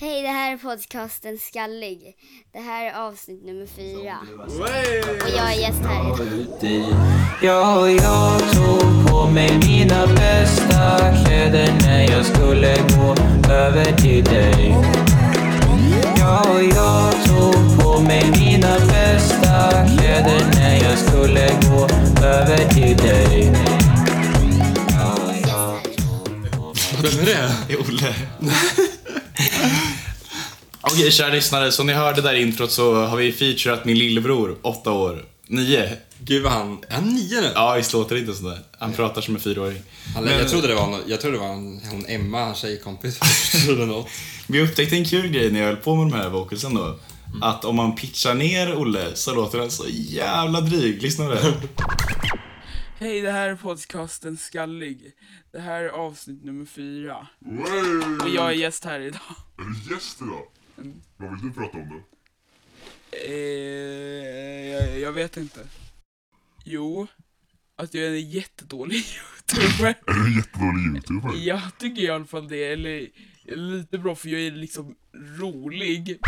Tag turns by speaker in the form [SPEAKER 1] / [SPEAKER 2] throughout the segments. [SPEAKER 1] Hej, det här är podcasten Skallig. Det här är avsnitt nummer fyra. Och jag är gäst här idag.
[SPEAKER 2] Ja, jag tog på mig mina bästa kläder när jag skulle gå över till dig. Ja, jag tog på mig mina bästa kläder när jag skulle gå över till dig. Ja, jag
[SPEAKER 3] Vem är det? Det är Olle. Okej, kära lyssnare. Som ni hörde där i introt så har vi featurat min lillebror, åtta år. Nio.
[SPEAKER 4] Gud vad han... Är han nio nu?
[SPEAKER 3] Ja, visst låter det inte sådär? Han pratar som en fyraåring.
[SPEAKER 4] Han,
[SPEAKER 3] Men-
[SPEAKER 4] jag trodde det var, någon, jag trodde det var en, hon Emma, hans tjejkompis först eller något.
[SPEAKER 3] Vi upptäckte en kul grej när jag höll på med de här vocalsen då. Att om man pitchar ner Olle så låter den så jävla dryg. Lyssna på det. här.
[SPEAKER 5] Hej, det här är podcasten Skallig. Det här är avsnitt nummer fyra. Och jag är gäst här idag.
[SPEAKER 6] Gäst idag. Vad vill du prata om då?
[SPEAKER 5] Eh, jag, jag vet inte. Jo, att jag är en jättedålig youtuber.
[SPEAKER 6] Är du en jättedålig youtuber?
[SPEAKER 5] Jag tycker i alla fall det, eller lite bra för jag är liksom rolig.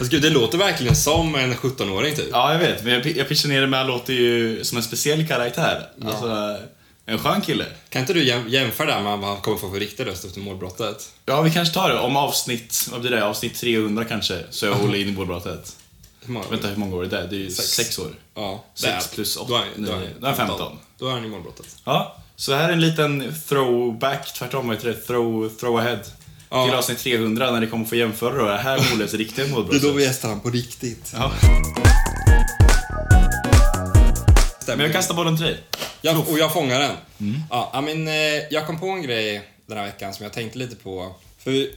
[SPEAKER 4] Alltså gud, det låter verkligen som en 17-åring typ.
[SPEAKER 3] Ja, jag vet. Men jag, pi- jag pitchar ner det med han låter ju som en speciell karaktär. Alltså, en skön kille.
[SPEAKER 4] Kan inte du jäm- jämföra det här med vad han kommer få för riktig röst efter målbrottet?
[SPEAKER 3] Ja, vi kanske tar det. Om avsnitt, vad blir det? Avsnitt 300 kanske, så är Olle inne i målbrottet.
[SPEAKER 4] Hur många?
[SPEAKER 3] Vänta, hur många år är det? Det är ju sex,
[SPEAKER 4] Sex.
[SPEAKER 3] år.
[SPEAKER 4] Ja,
[SPEAKER 3] Sex
[SPEAKER 4] där.
[SPEAKER 3] plus åtta,
[SPEAKER 4] Då är- då
[SPEAKER 3] nio. Då är han 15.
[SPEAKER 4] Då är han i målbrottet.
[SPEAKER 3] Ja, så här är en liten throwback, tvärtom vad heter det? Throw, throw ahead.
[SPEAKER 4] Ja.
[SPEAKER 3] Till avsnitt 300 när det kommer få jämföra då. Det här är Olles riktiga målbrott.
[SPEAKER 4] gästar han på riktigt.
[SPEAKER 3] Ja. Men jag kastar bollen till dig.
[SPEAKER 4] Jag, och jag fångar den.
[SPEAKER 3] Mm.
[SPEAKER 4] Ja, ja, men, eh, jag kom på en grej den här veckan som jag tänkte lite på. För vi-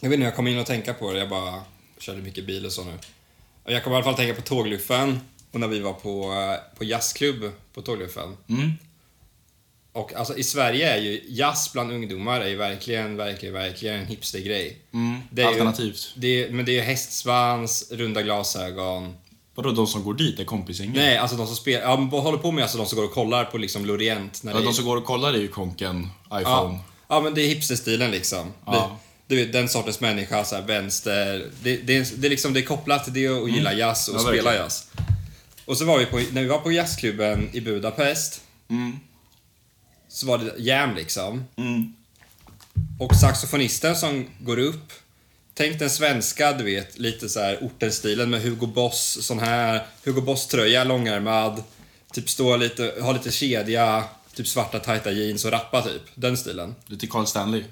[SPEAKER 4] Jag vet inte, jag kom in och tänka på det. Jag bara körde mycket bil och så nu. Och jag kommer i alla fall tänka på tågluffen och när vi var på, eh, på jazzklubb på tågluffen.
[SPEAKER 3] Mm.
[SPEAKER 4] Och alltså i Sverige är ju jazz bland ungdomar är ju verkligen, verkligen, verkligen en hipstergrej. Det är ju-
[SPEAKER 3] Mm. Alternativt.
[SPEAKER 4] Det är, men det är ju hästsvans, runda glasögon.
[SPEAKER 3] Vadå, de som går dit är kompisgängen?
[SPEAKER 4] Nej, alltså de som spelar, ja, men håller på med alltså de som går och kollar på liksom Lorient. När
[SPEAKER 3] Ja,
[SPEAKER 4] det är-
[SPEAKER 3] de som går och kollar är ju konken, iPhone.
[SPEAKER 4] Ja. ja, men det är hipsterstilen liksom.
[SPEAKER 3] Ja.
[SPEAKER 4] Det, du vet, den sortens människa, så här, vänster. Det, det, är, det, är liksom, det är kopplat till det att
[SPEAKER 3] Mm.
[SPEAKER 4] gilla jazz och
[SPEAKER 3] Ja,
[SPEAKER 4] spela
[SPEAKER 3] verkligen.
[SPEAKER 4] jazz. alltså. Och så var vi på, när vi var på jazzklubben i Budapest,
[SPEAKER 3] Mm.
[SPEAKER 4] så var det jam liksom. Och saxofonisten som går upp, tänk den svenska, du vet, lite så här ortenstilen med Hugo Boss, sån här Hugo Boss-tröja, långärmad, typ stå lite, ha lite kedja, typ svarta tajta jeans och rappa typ. Den stilen.
[SPEAKER 3] Lite Carl Stanley.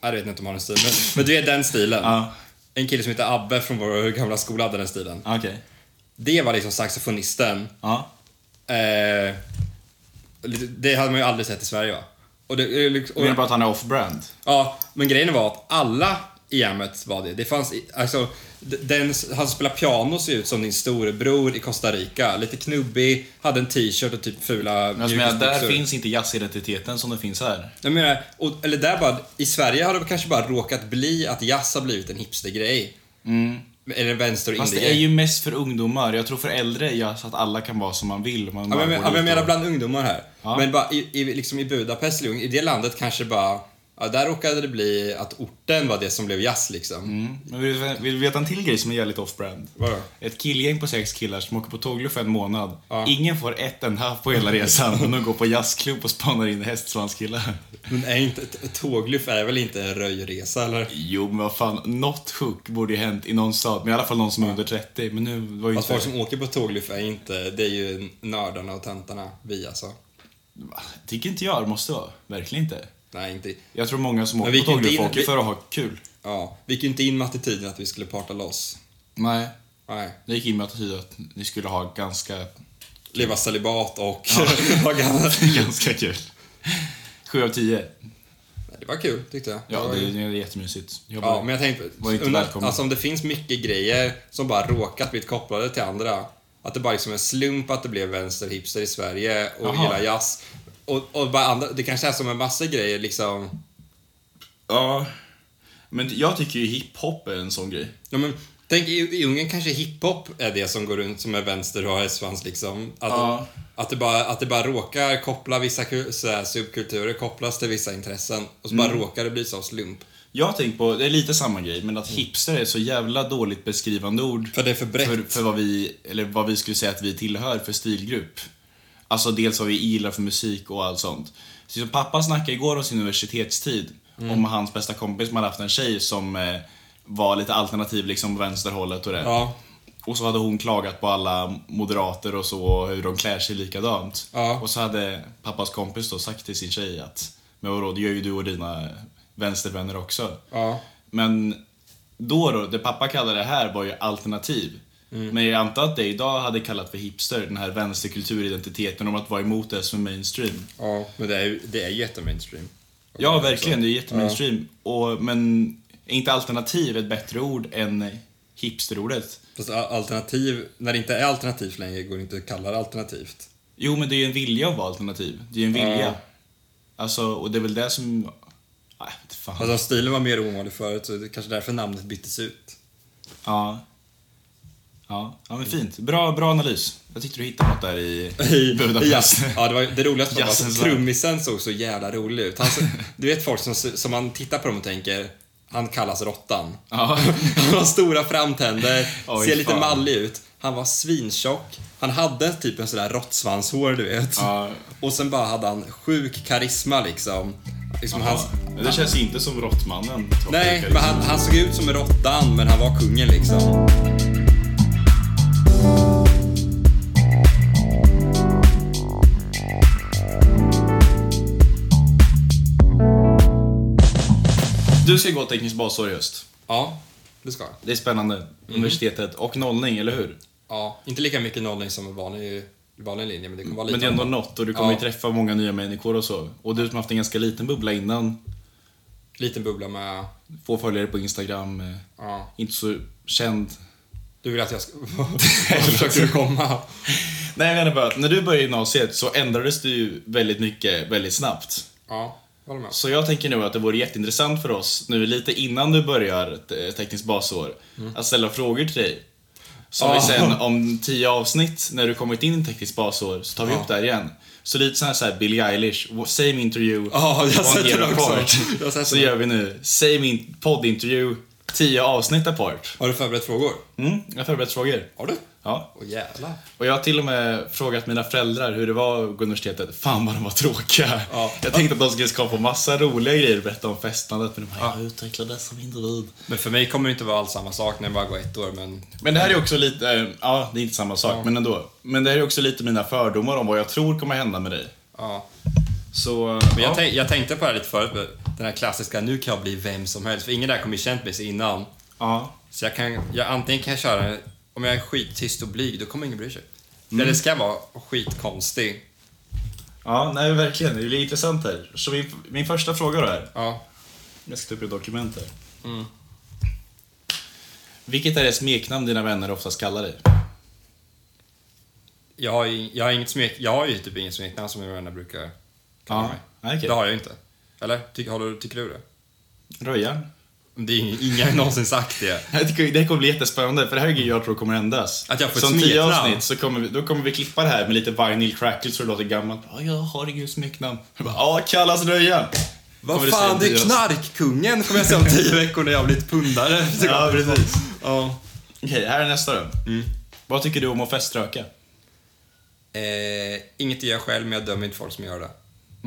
[SPEAKER 4] Jag vet inte om han har en stil, men, men du vet den stilen.
[SPEAKER 3] Ja.
[SPEAKER 4] En kille som heter Abbe från vår gamla skola hade den stilen.
[SPEAKER 3] Okej.
[SPEAKER 4] Det var liksom saxofonisten.
[SPEAKER 3] Ja.
[SPEAKER 4] Eh, lite- det hade man ju aldrig sett i Sverige va? Och det, eh, liksom- och,
[SPEAKER 3] Du menar bara att han är off-brand?
[SPEAKER 4] Ja, men grejen var att alla i jammet var det. Det fanns, i- alltså, d- den, han som spelar piano ser ut som din storebror i Costa Rica. Lite knubbig, hade en t-shirt och typ fula
[SPEAKER 3] Alltså, Men jag menar, där
[SPEAKER 4] mjukisbyxor.
[SPEAKER 3] finns inte jazzidentiteten som den finns här.
[SPEAKER 4] Jag menar, och, eller där bara, i Sverige har det kanske bara råkat bli att jazz har blivit en hipstergrej. Eller en vänster och
[SPEAKER 3] Mm. Fast det är
[SPEAKER 4] indiegrej.
[SPEAKER 3] ju mest för ungdomar. Jag tror för äldre är jazz att alla kan vara som man vill. Man
[SPEAKER 4] Ja,
[SPEAKER 3] bara går
[SPEAKER 4] men, ja, men jag
[SPEAKER 3] dit
[SPEAKER 4] menar
[SPEAKER 3] och-
[SPEAKER 4] bland ungdomar här.
[SPEAKER 3] Ja.
[SPEAKER 4] Men bara i, i, liksom i Budapest, eller i det landet kanske bara, ja, där råkade det bli att orten var det som blev jazz liksom.
[SPEAKER 3] Mm. Men vill, du- vill du veta en till grej som är jävligt off-brand?
[SPEAKER 4] Vadå?
[SPEAKER 3] Ett killgäng på sex killar som åker på tågluff en månad.
[SPEAKER 4] Ja.
[SPEAKER 3] Ingen får ett enda på hela resan och de går på jazzklubb och spanar in hästsvanskillar.
[SPEAKER 4] Men är inte, t- tågluff är väl inte en röjresa eller?
[SPEAKER 3] Jo, men vad fan. Något hook borde ju hänt i någon stad. Men i alla fall någon som är under 30. Men nu var ju
[SPEAKER 4] Att
[SPEAKER 3] inte...
[SPEAKER 4] folk som åker på tågluff är inte, det är ju nördarna och tantarna, vi alltså.
[SPEAKER 3] Va? Tycker inte jag det måste vara. Verkligen inte.
[SPEAKER 4] Nej, inte,
[SPEAKER 3] Jag tror många som åker
[SPEAKER 4] vi
[SPEAKER 3] på
[SPEAKER 4] gick inte
[SPEAKER 3] tågluff
[SPEAKER 4] in-
[SPEAKER 3] åker
[SPEAKER 4] vi-
[SPEAKER 3] för att ha kul.
[SPEAKER 4] ja. Vi gick ju inte in med attityden att vi skulle parta loss.
[SPEAKER 3] Nej.
[SPEAKER 4] Nej.
[SPEAKER 3] Jag gick in med attityden att ni skulle ha ganska
[SPEAKER 4] Leva celibat och... Ja.
[SPEAKER 3] Ganska kul. 7 av 10.
[SPEAKER 4] det var kul tyckte jag.
[SPEAKER 3] Ja,
[SPEAKER 4] var
[SPEAKER 3] det,
[SPEAKER 4] ju-
[SPEAKER 3] det är jättemysigt. Jag bara-
[SPEAKER 4] ja men jag tänkte,
[SPEAKER 3] Var inte
[SPEAKER 4] undra-
[SPEAKER 3] välkommen.
[SPEAKER 4] alltså om det finns mycket grejer som bara råkat blivit kopplade till andra. Att det bara liksom är en slump att det blev vänsterhipster i Sverige och
[SPEAKER 3] Jaha.
[SPEAKER 4] gillar jazz. Och, och bara andra, det kanske är som en massa grejer liksom.
[SPEAKER 3] ja. Men jag tycker ju hiphop är en sån grej.
[SPEAKER 4] Ja, men, tänk i, i Ungern kanske hiphop är det som går runt som är vänster och har svans liksom. Att,
[SPEAKER 3] Ja.
[SPEAKER 4] att, det bara, att det bara råkar
[SPEAKER 3] Mm.
[SPEAKER 4] koppla vissa ku- så här, subkulturer kopplas till vissa intressen och så bara råkar det bli så av slump.
[SPEAKER 3] Jag har tänkt på, det är lite samma grej, men att hipster är så jävla dåligt beskrivande ord
[SPEAKER 4] För det är för brett.
[SPEAKER 3] för, för vad, vi, eller vad vi skulle säga att vi tillhör för stilgrupp. Alltså dels vad vi gillar för musik och allt sånt. Så som pappa snackade igår om sin universitetstid,
[SPEAKER 4] Mm.
[SPEAKER 3] om hans bästa kompis som hade haft en tjej som eh, var lite alternativ liksom vänsterhållet och det.
[SPEAKER 4] Ja,
[SPEAKER 3] Och så hade hon klagat på alla moderater och så, och hur de klär sig likadant.
[SPEAKER 4] Ja.
[SPEAKER 3] Och så hade pappas kompis då sagt till sin tjej att Men vadå, det gör ju du och dina vänstervänner också.
[SPEAKER 4] ja.
[SPEAKER 3] Men då då, det pappa kallade det här var ju alternativ.
[SPEAKER 4] Mm.
[SPEAKER 3] Men jag antar att det idag hade kallat för hipster, den här vänsterkulturidentiteten om att vara emot det som är mainstream.
[SPEAKER 4] Ja, men det är, ju- det är ju jättemainstream.
[SPEAKER 3] Ja, verkligen, det är jättemainstream. Och, men är inte alternativ ett bättre ord än hipsterordet?
[SPEAKER 4] Fast a- alternativ, när det inte är alternativt längre går det inte att kalla det alternativt.
[SPEAKER 3] Jo, men det är ju en vilja att vara alternativ. Det är ju en vilja.
[SPEAKER 4] Ja.
[SPEAKER 3] Alltså, och det är väl det som... Nej, inte fan.
[SPEAKER 4] Fast om stilen var mer ovanlig förut så är det kanske därför namnet byttes ut.
[SPEAKER 3] Ja. Ja, ja men fint. Bra, bra analys. Jag tyckte du hittade något där i
[SPEAKER 4] I, i
[SPEAKER 3] Budapest.
[SPEAKER 4] jazz. Ja, det, var, det roligaste var
[SPEAKER 3] Jazzens
[SPEAKER 4] att
[SPEAKER 3] värld.
[SPEAKER 4] trummisen såg så jävla rolig ut. Han, så- du vet folk som, som man tittar på dem och tänker, han kallas Råttan.
[SPEAKER 3] Ja.
[SPEAKER 4] Han har stora framtänder,
[SPEAKER 3] Oj,
[SPEAKER 4] ser lite
[SPEAKER 3] fan.
[SPEAKER 4] mallig ut. Han var svintjock. Han hade typ en sån där råttsvanshår, du vet.
[SPEAKER 3] Ja.
[SPEAKER 4] Och sen bara hade han sjuk karisma liksom. liksom
[SPEAKER 3] Ja,
[SPEAKER 4] hans,
[SPEAKER 3] men det känns inte som Råttmannen.
[SPEAKER 4] Nej, men han, han såg ut som en råttan, men han var kungen liksom.
[SPEAKER 3] Du ska gå teknisk basår i höst.
[SPEAKER 4] Ja, det ska jag.
[SPEAKER 3] Det är spännande. Universitetet och nollning, eller hur?
[SPEAKER 4] Ja, inte lika mycket nollning som en vanlig, vanlig linje, men det kommer vara lite
[SPEAKER 3] Men det är ändå
[SPEAKER 4] annorlunda.
[SPEAKER 3] något och du kommer
[SPEAKER 4] Ja.
[SPEAKER 3] ju träffa många nya människor och så. Och du som haft en ganska liten bubbla innan,
[SPEAKER 4] Liten bubbla med...
[SPEAKER 3] få följare på Instagram, eh,
[SPEAKER 4] Ja.
[SPEAKER 3] inte så känd.
[SPEAKER 4] Du vill att jag ska... Vart försökte du komma?
[SPEAKER 3] Nej, jag menar bara att när du började gymnasiet så ändrades det ju väldigt mycket väldigt snabbt.
[SPEAKER 4] Ja, jag håller med.
[SPEAKER 3] Så jag tänker nu att det vore jätteintressant för oss nu lite innan du börjar ett, eh, tekniskt basår
[SPEAKER 4] Mm.
[SPEAKER 3] att ställa frågor till dig. Som vi
[SPEAKER 4] Ah.
[SPEAKER 3] sen om tio avsnitt när du kommit in i tekniskt basår så tar vi
[SPEAKER 4] Ja.
[SPEAKER 3] upp där igen. Så lite så här, så här Billie Eilish, w- same interview,
[SPEAKER 4] Ja, jag har
[SPEAKER 3] one
[SPEAKER 4] sett
[SPEAKER 3] year
[SPEAKER 4] den också.
[SPEAKER 3] apart.
[SPEAKER 4] Jag har sett
[SPEAKER 3] Så
[SPEAKER 4] den.
[SPEAKER 3] gör vi nu, same in- poddinterview, tio avsnitt apart.
[SPEAKER 4] Har du förberett frågor?
[SPEAKER 3] Mm, jag har förberett frågor.
[SPEAKER 4] Har du?
[SPEAKER 3] Ja.
[SPEAKER 4] Åh jävlar.
[SPEAKER 3] Och jag har till och med frågat mina föräldrar hur det var att gå universitetet. Fan vad de var tråkiga.
[SPEAKER 4] Ja.
[SPEAKER 3] Jag tänkte att de skulle skapa massa roliga grejer och berätta om festandet. Men de bara, jag utvecklades som individ.
[SPEAKER 4] Men för mig kommer det inte vara alls samma sak när jag bara går ett år, men...
[SPEAKER 3] Men det här är också lite, eh, ja det är inte samma sak, men ändå. Men det här är också lite mina fördomar om vad jag tror kommer hända med dig.
[SPEAKER 4] Ja.
[SPEAKER 3] Så,
[SPEAKER 4] Men jag,
[SPEAKER 3] ja.
[SPEAKER 4] tänk, jag tänkte på det här lite förut, men den här klassiska nu kan jag bli vem som helst, för ingen där kommer ju känt mig så innan.
[SPEAKER 3] ja.
[SPEAKER 4] Så jag kan, jag, antingen kan jag köra, om jag är skittyst och blyg, då kommer ingen bry sig.
[SPEAKER 3] Mm.
[SPEAKER 4] Eller ska jag vara skitkonstig.
[SPEAKER 3] Ja, nej verkligen. Det blir intressant här. Så min, min första fråga då är,
[SPEAKER 4] Ja.
[SPEAKER 3] jag ska ta upp ett dokument här. Mm. Vilket är det smeknamn dina vänner oftast kallar dig?
[SPEAKER 4] Jag har, ju- jag har inget smek, jag har ju typ inget smeknamn som mina vänner brukar kalla
[SPEAKER 3] Ja,
[SPEAKER 4] mig.
[SPEAKER 3] nej, okej.
[SPEAKER 4] Det har jag ju inte. Eller? Ty, har du, tycker du det?
[SPEAKER 3] Röja?
[SPEAKER 4] Men Det är ingen, ingen har någonsin sagt det.
[SPEAKER 3] Jag tycker det här kommer bli jättespännande för det här är grejer jag tror kommer ändras.
[SPEAKER 4] Att jag får ett
[SPEAKER 3] Som tio
[SPEAKER 4] smeknamn.
[SPEAKER 3] avsnitt så kommer vi, då kommer vi klippa det här med lite vinyl crackle så det låter gammalt. Ja, jag har inget smeknamn. Jag bara, Ja, kallas röja. Kommer
[SPEAKER 4] Vad
[SPEAKER 3] du se
[SPEAKER 4] fan,
[SPEAKER 3] om
[SPEAKER 4] det
[SPEAKER 3] tio
[SPEAKER 4] är knarkkungen kommer jag se om tio veckor när jag har blivit pundare.
[SPEAKER 3] Ja, precis.
[SPEAKER 4] Ja.
[SPEAKER 3] Okej, här är nästa då.
[SPEAKER 4] Mm.
[SPEAKER 3] Vad tycker du om att feströka?
[SPEAKER 4] Eh, inget jag gör själv, men jag dömer inte folk som gör det.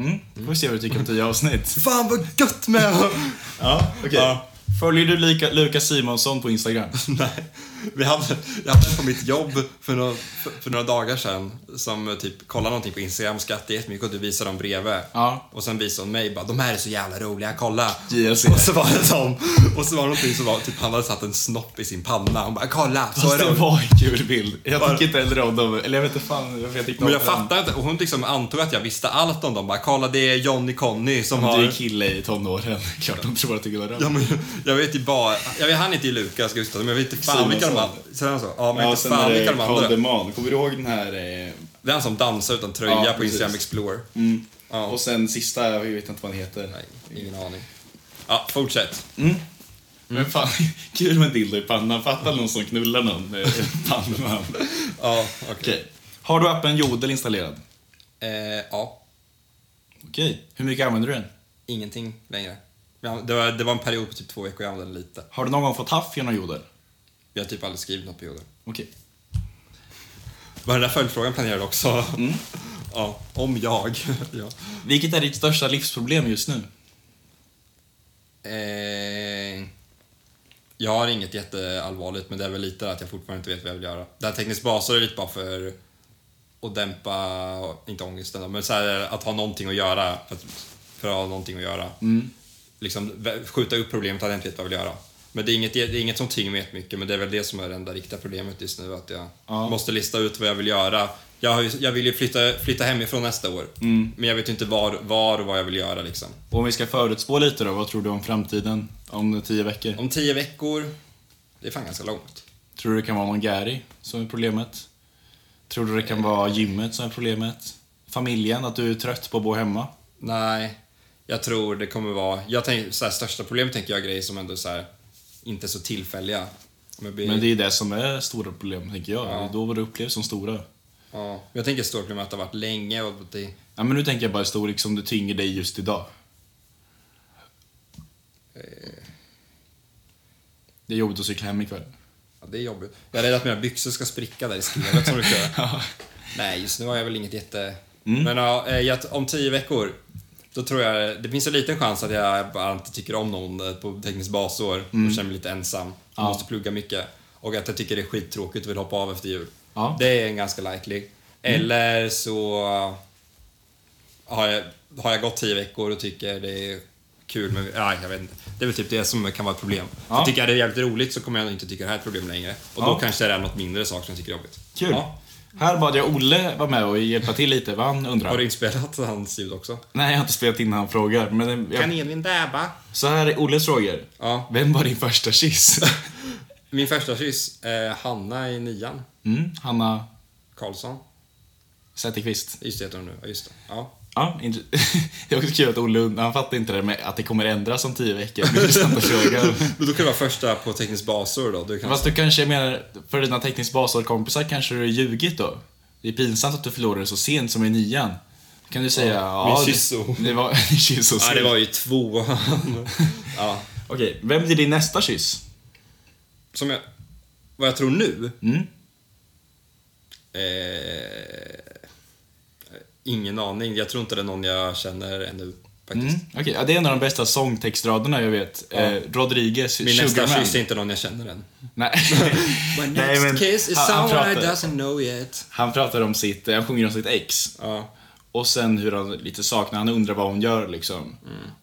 [SPEAKER 3] Mm? Då får vi se vad du tycker om tio avsnitt.
[SPEAKER 4] Fan vad gött med...
[SPEAKER 3] Ja, okej.
[SPEAKER 4] Ja.
[SPEAKER 3] Följer du Lika, Lukas Simonsson på Instagram?
[SPEAKER 4] Nej, vi hade, jag hade en på mitt jobb för några, för, för några dagar sedan som typ kollade någonting på Instagram och skrattade jättemycket och du visade dem bredvid.
[SPEAKER 3] Ja.
[SPEAKER 4] Och sen visade hon mig bara, de här är så jävla roliga, kolla.
[SPEAKER 3] JLC.
[SPEAKER 4] Och så var det som, och så var det någonting som var, typ han hade satt en snopp i sin panna. Hon bara, kolla, så är
[SPEAKER 3] Fast det
[SPEAKER 4] det.
[SPEAKER 3] var en kul bild. Jag
[SPEAKER 4] Var-
[SPEAKER 3] tycker inte heller om dem. Eller jag vet inte fan varför jag tyckte om
[SPEAKER 4] Men jag
[SPEAKER 3] dem.
[SPEAKER 4] fattade inte, och hon liksom antog att jag visste allt om dem. Bara, kolla det är Johnny Conny som har...
[SPEAKER 3] Du är kille i tonåren. Klart de tror att du gillar
[SPEAKER 4] Ja,
[SPEAKER 3] dem.
[SPEAKER 4] men, jag vet ju bara, jag vet, han heter ju Lukas Gustav, men jag vet inte fan
[SPEAKER 3] Simonsson.
[SPEAKER 4] vilka de andra... Säger han så? Ja, men
[SPEAKER 3] Ja,
[SPEAKER 4] inte
[SPEAKER 3] sen
[SPEAKER 4] fan
[SPEAKER 3] är
[SPEAKER 4] vilka
[SPEAKER 3] det
[SPEAKER 4] de
[SPEAKER 3] Carl
[SPEAKER 4] andra.
[SPEAKER 3] Deman. Kommer du ihåg den här eh,
[SPEAKER 4] Det är han som dansar utan tröja
[SPEAKER 3] Ja,
[SPEAKER 4] på Instagram
[SPEAKER 3] precis.
[SPEAKER 4] Explorer. Ja.
[SPEAKER 3] Och sen sista, jag vet inte vad han heter. Mm.
[SPEAKER 4] Nej, ingen aning. Ja, fortsätt.
[SPEAKER 3] Men fan, kul med en dildo i pannan. Fattar någon som knullar någon med pannan.
[SPEAKER 4] Ja, okej.
[SPEAKER 3] Okej. Har du appen Jodel installerad?
[SPEAKER 4] Eh, ja,
[SPEAKER 3] Okej. Hur mycket använder du den?
[SPEAKER 4] ingenting längre. Ja, det, var, det var en period på typ två veckor jag använde den lite.
[SPEAKER 3] Har du någon gång fått haff genom jodel?
[SPEAKER 4] Jag har typ aldrig skrivit något på jodel.
[SPEAKER 3] Okej.
[SPEAKER 4] Var den där följdfrågan planerad också?
[SPEAKER 3] Mm.
[SPEAKER 4] Ja, om jag. ja.
[SPEAKER 3] Vilket är ditt största livsproblem just nu?
[SPEAKER 4] Eh, jag har inget jätteallvarligt, men det är väl lite att jag fortfarande inte vet vad jag vill göra. Det här tekniskt basår är lite bara för att dämpa, inte ångesten, då, men så här, att ha någonting att göra. För att, för att ha någonting att göra. Liksom, vä- skjuta upp problemet att jag inte vet vad jag vill göra. Men det är inget, det är inget som tynger mig mycket, men det är väl det som är det enda riktiga problemet just nu. Att jag
[SPEAKER 3] Ja.
[SPEAKER 4] måste lista ut vad jag vill göra. Jag, har ju, jag vill ju flytta, flytta hemifrån nästa år, men jag vet ju inte var, var och vad jag vill göra. Liksom.
[SPEAKER 3] Och om vi ska förutspå lite då, vad tror du om framtiden om tio veckor?
[SPEAKER 4] Om tio veckor, det är fan ganska långt.
[SPEAKER 3] Tror du det kan vara någon Gary som är problemet? Tror du det kan vara gymmet som är problemet? Familjen, att du är trött på att bo hemma?
[SPEAKER 4] Nej, jag tror det kommer vara... Jag tänker, så här, största problemet tänker jag är grejer som ändå är så här, inte är så tillfälliga. Om jag blir,
[SPEAKER 3] Men det är ju det som är stora problem, tänker jag.
[SPEAKER 4] Ja.
[SPEAKER 3] Det är då vad det upplevs som stora.
[SPEAKER 4] ja, jag tänker ett stort problem är att det har varit länge och att det...
[SPEAKER 3] Ja, men nu tänker jag bara i storlek som det tynger dig just idag.
[SPEAKER 4] Eh.
[SPEAKER 3] Det är jobbigt att cykla hem ikväll.
[SPEAKER 4] Ja, det är jobbigt. Jag är rädd att mina byxor ska spricka där i skrevet som brukar Nej, just nu har jag väl inget jätte...
[SPEAKER 3] Mm.
[SPEAKER 4] Men ja, eh, jag- om tio veckor, då tror jag... Det finns en liten chans att jag bara inte tycker om någon eh, på tekniskt basår
[SPEAKER 3] Mm.
[SPEAKER 4] och känner mig lite ensam. Jag måste plugga mycket. Och att jag tycker det är skittråkigt och vill hoppa av efter jul.
[SPEAKER 3] Ja. Mm.
[SPEAKER 4] Det är en ganska likely. Eller så har jag, har jag gått tio veckor och tycker det är kul men Nej, jag vet inte. Det är väl typ det som kan vara ett problem.
[SPEAKER 3] Ja.
[SPEAKER 4] För tycker jag det är jävligt roligt så kommer jag nog inte tycka det här är ett problem längre. Och då
[SPEAKER 3] Ja.
[SPEAKER 4] kanske det är något mindre saker som jag tycker är jobbigt.
[SPEAKER 3] Kul!
[SPEAKER 4] Ja.
[SPEAKER 3] Här bad jag Olle vara med och hjälpa till lite, vad han undrar.
[SPEAKER 4] Har du inspelat hans ljud också?
[SPEAKER 3] Nej, jag har inte spelat in när han frågar. Men jag...
[SPEAKER 4] Edvin dabba?
[SPEAKER 3] Så här är Olles frågor.
[SPEAKER 4] Ja.
[SPEAKER 3] Vem var din första kyss?
[SPEAKER 4] Min första kyss, eh, Hanna i nian.
[SPEAKER 3] Mm, Hanna
[SPEAKER 4] Karlsson.
[SPEAKER 3] Zetterqvist.
[SPEAKER 4] Just det heter hon nu. Ja, just det. Ja.
[SPEAKER 3] Ja, int- det är också kul att Olle, und- han fattar inte det med att det kommer ändras om tio veckor. Det är intressanta frågor.
[SPEAKER 4] Men då kan det vara första på teknisk basår då. Du kan...
[SPEAKER 3] Fast du kanske menar, för dina tekniskt basårkompisar kanske du har ljugit då? Det är pinsamt att du förlorade så sent som i nian. Då kan du säga, ja,
[SPEAKER 4] min
[SPEAKER 3] det-
[SPEAKER 4] kyss och-
[SPEAKER 3] det var Min kyss och
[SPEAKER 4] Ja,
[SPEAKER 3] sen.
[SPEAKER 4] det var ju tvåan. ja.
[SPEAKER 3] Okej, vem blir din nästa kyss?
[SPEAKER 4] Som jag... Vad jag tror nu?
[SPEAKER 3] Mm.
[SPEAKER 4] Eh, ingen aning. Jag tror inte det är någon jag känner ännu faktiskt.
[SPEAKER 3] Mm. Okej, ja, det är en av de bästa sångtextraderna jag vet. Eh, Rodriguez,
[SPEAKER 4] Min nästa
[SPEAKER 3] Sugarman.
[SPEAKER 4] kyss är inte någon jag känner än.
[SPEAKER 3] Nej.
[SPEAKER 4] My next
[SPEAKER 3] Nej, men
[SPEAKER 4] kiss is
[SPEAKER 3] han- han
[SPEAKER 4] someone I
[SPEAKER 3] pratar-
[SPEAKER 4] doesn't know yet.
[SPEAKER 3] Han pratar om sitt, han sjunger om sitt ex.
[SPEAKER 4] Ja.
[SPEAKER 3] Och sen hur han lite saknar, han undrar vad hon gör liksom.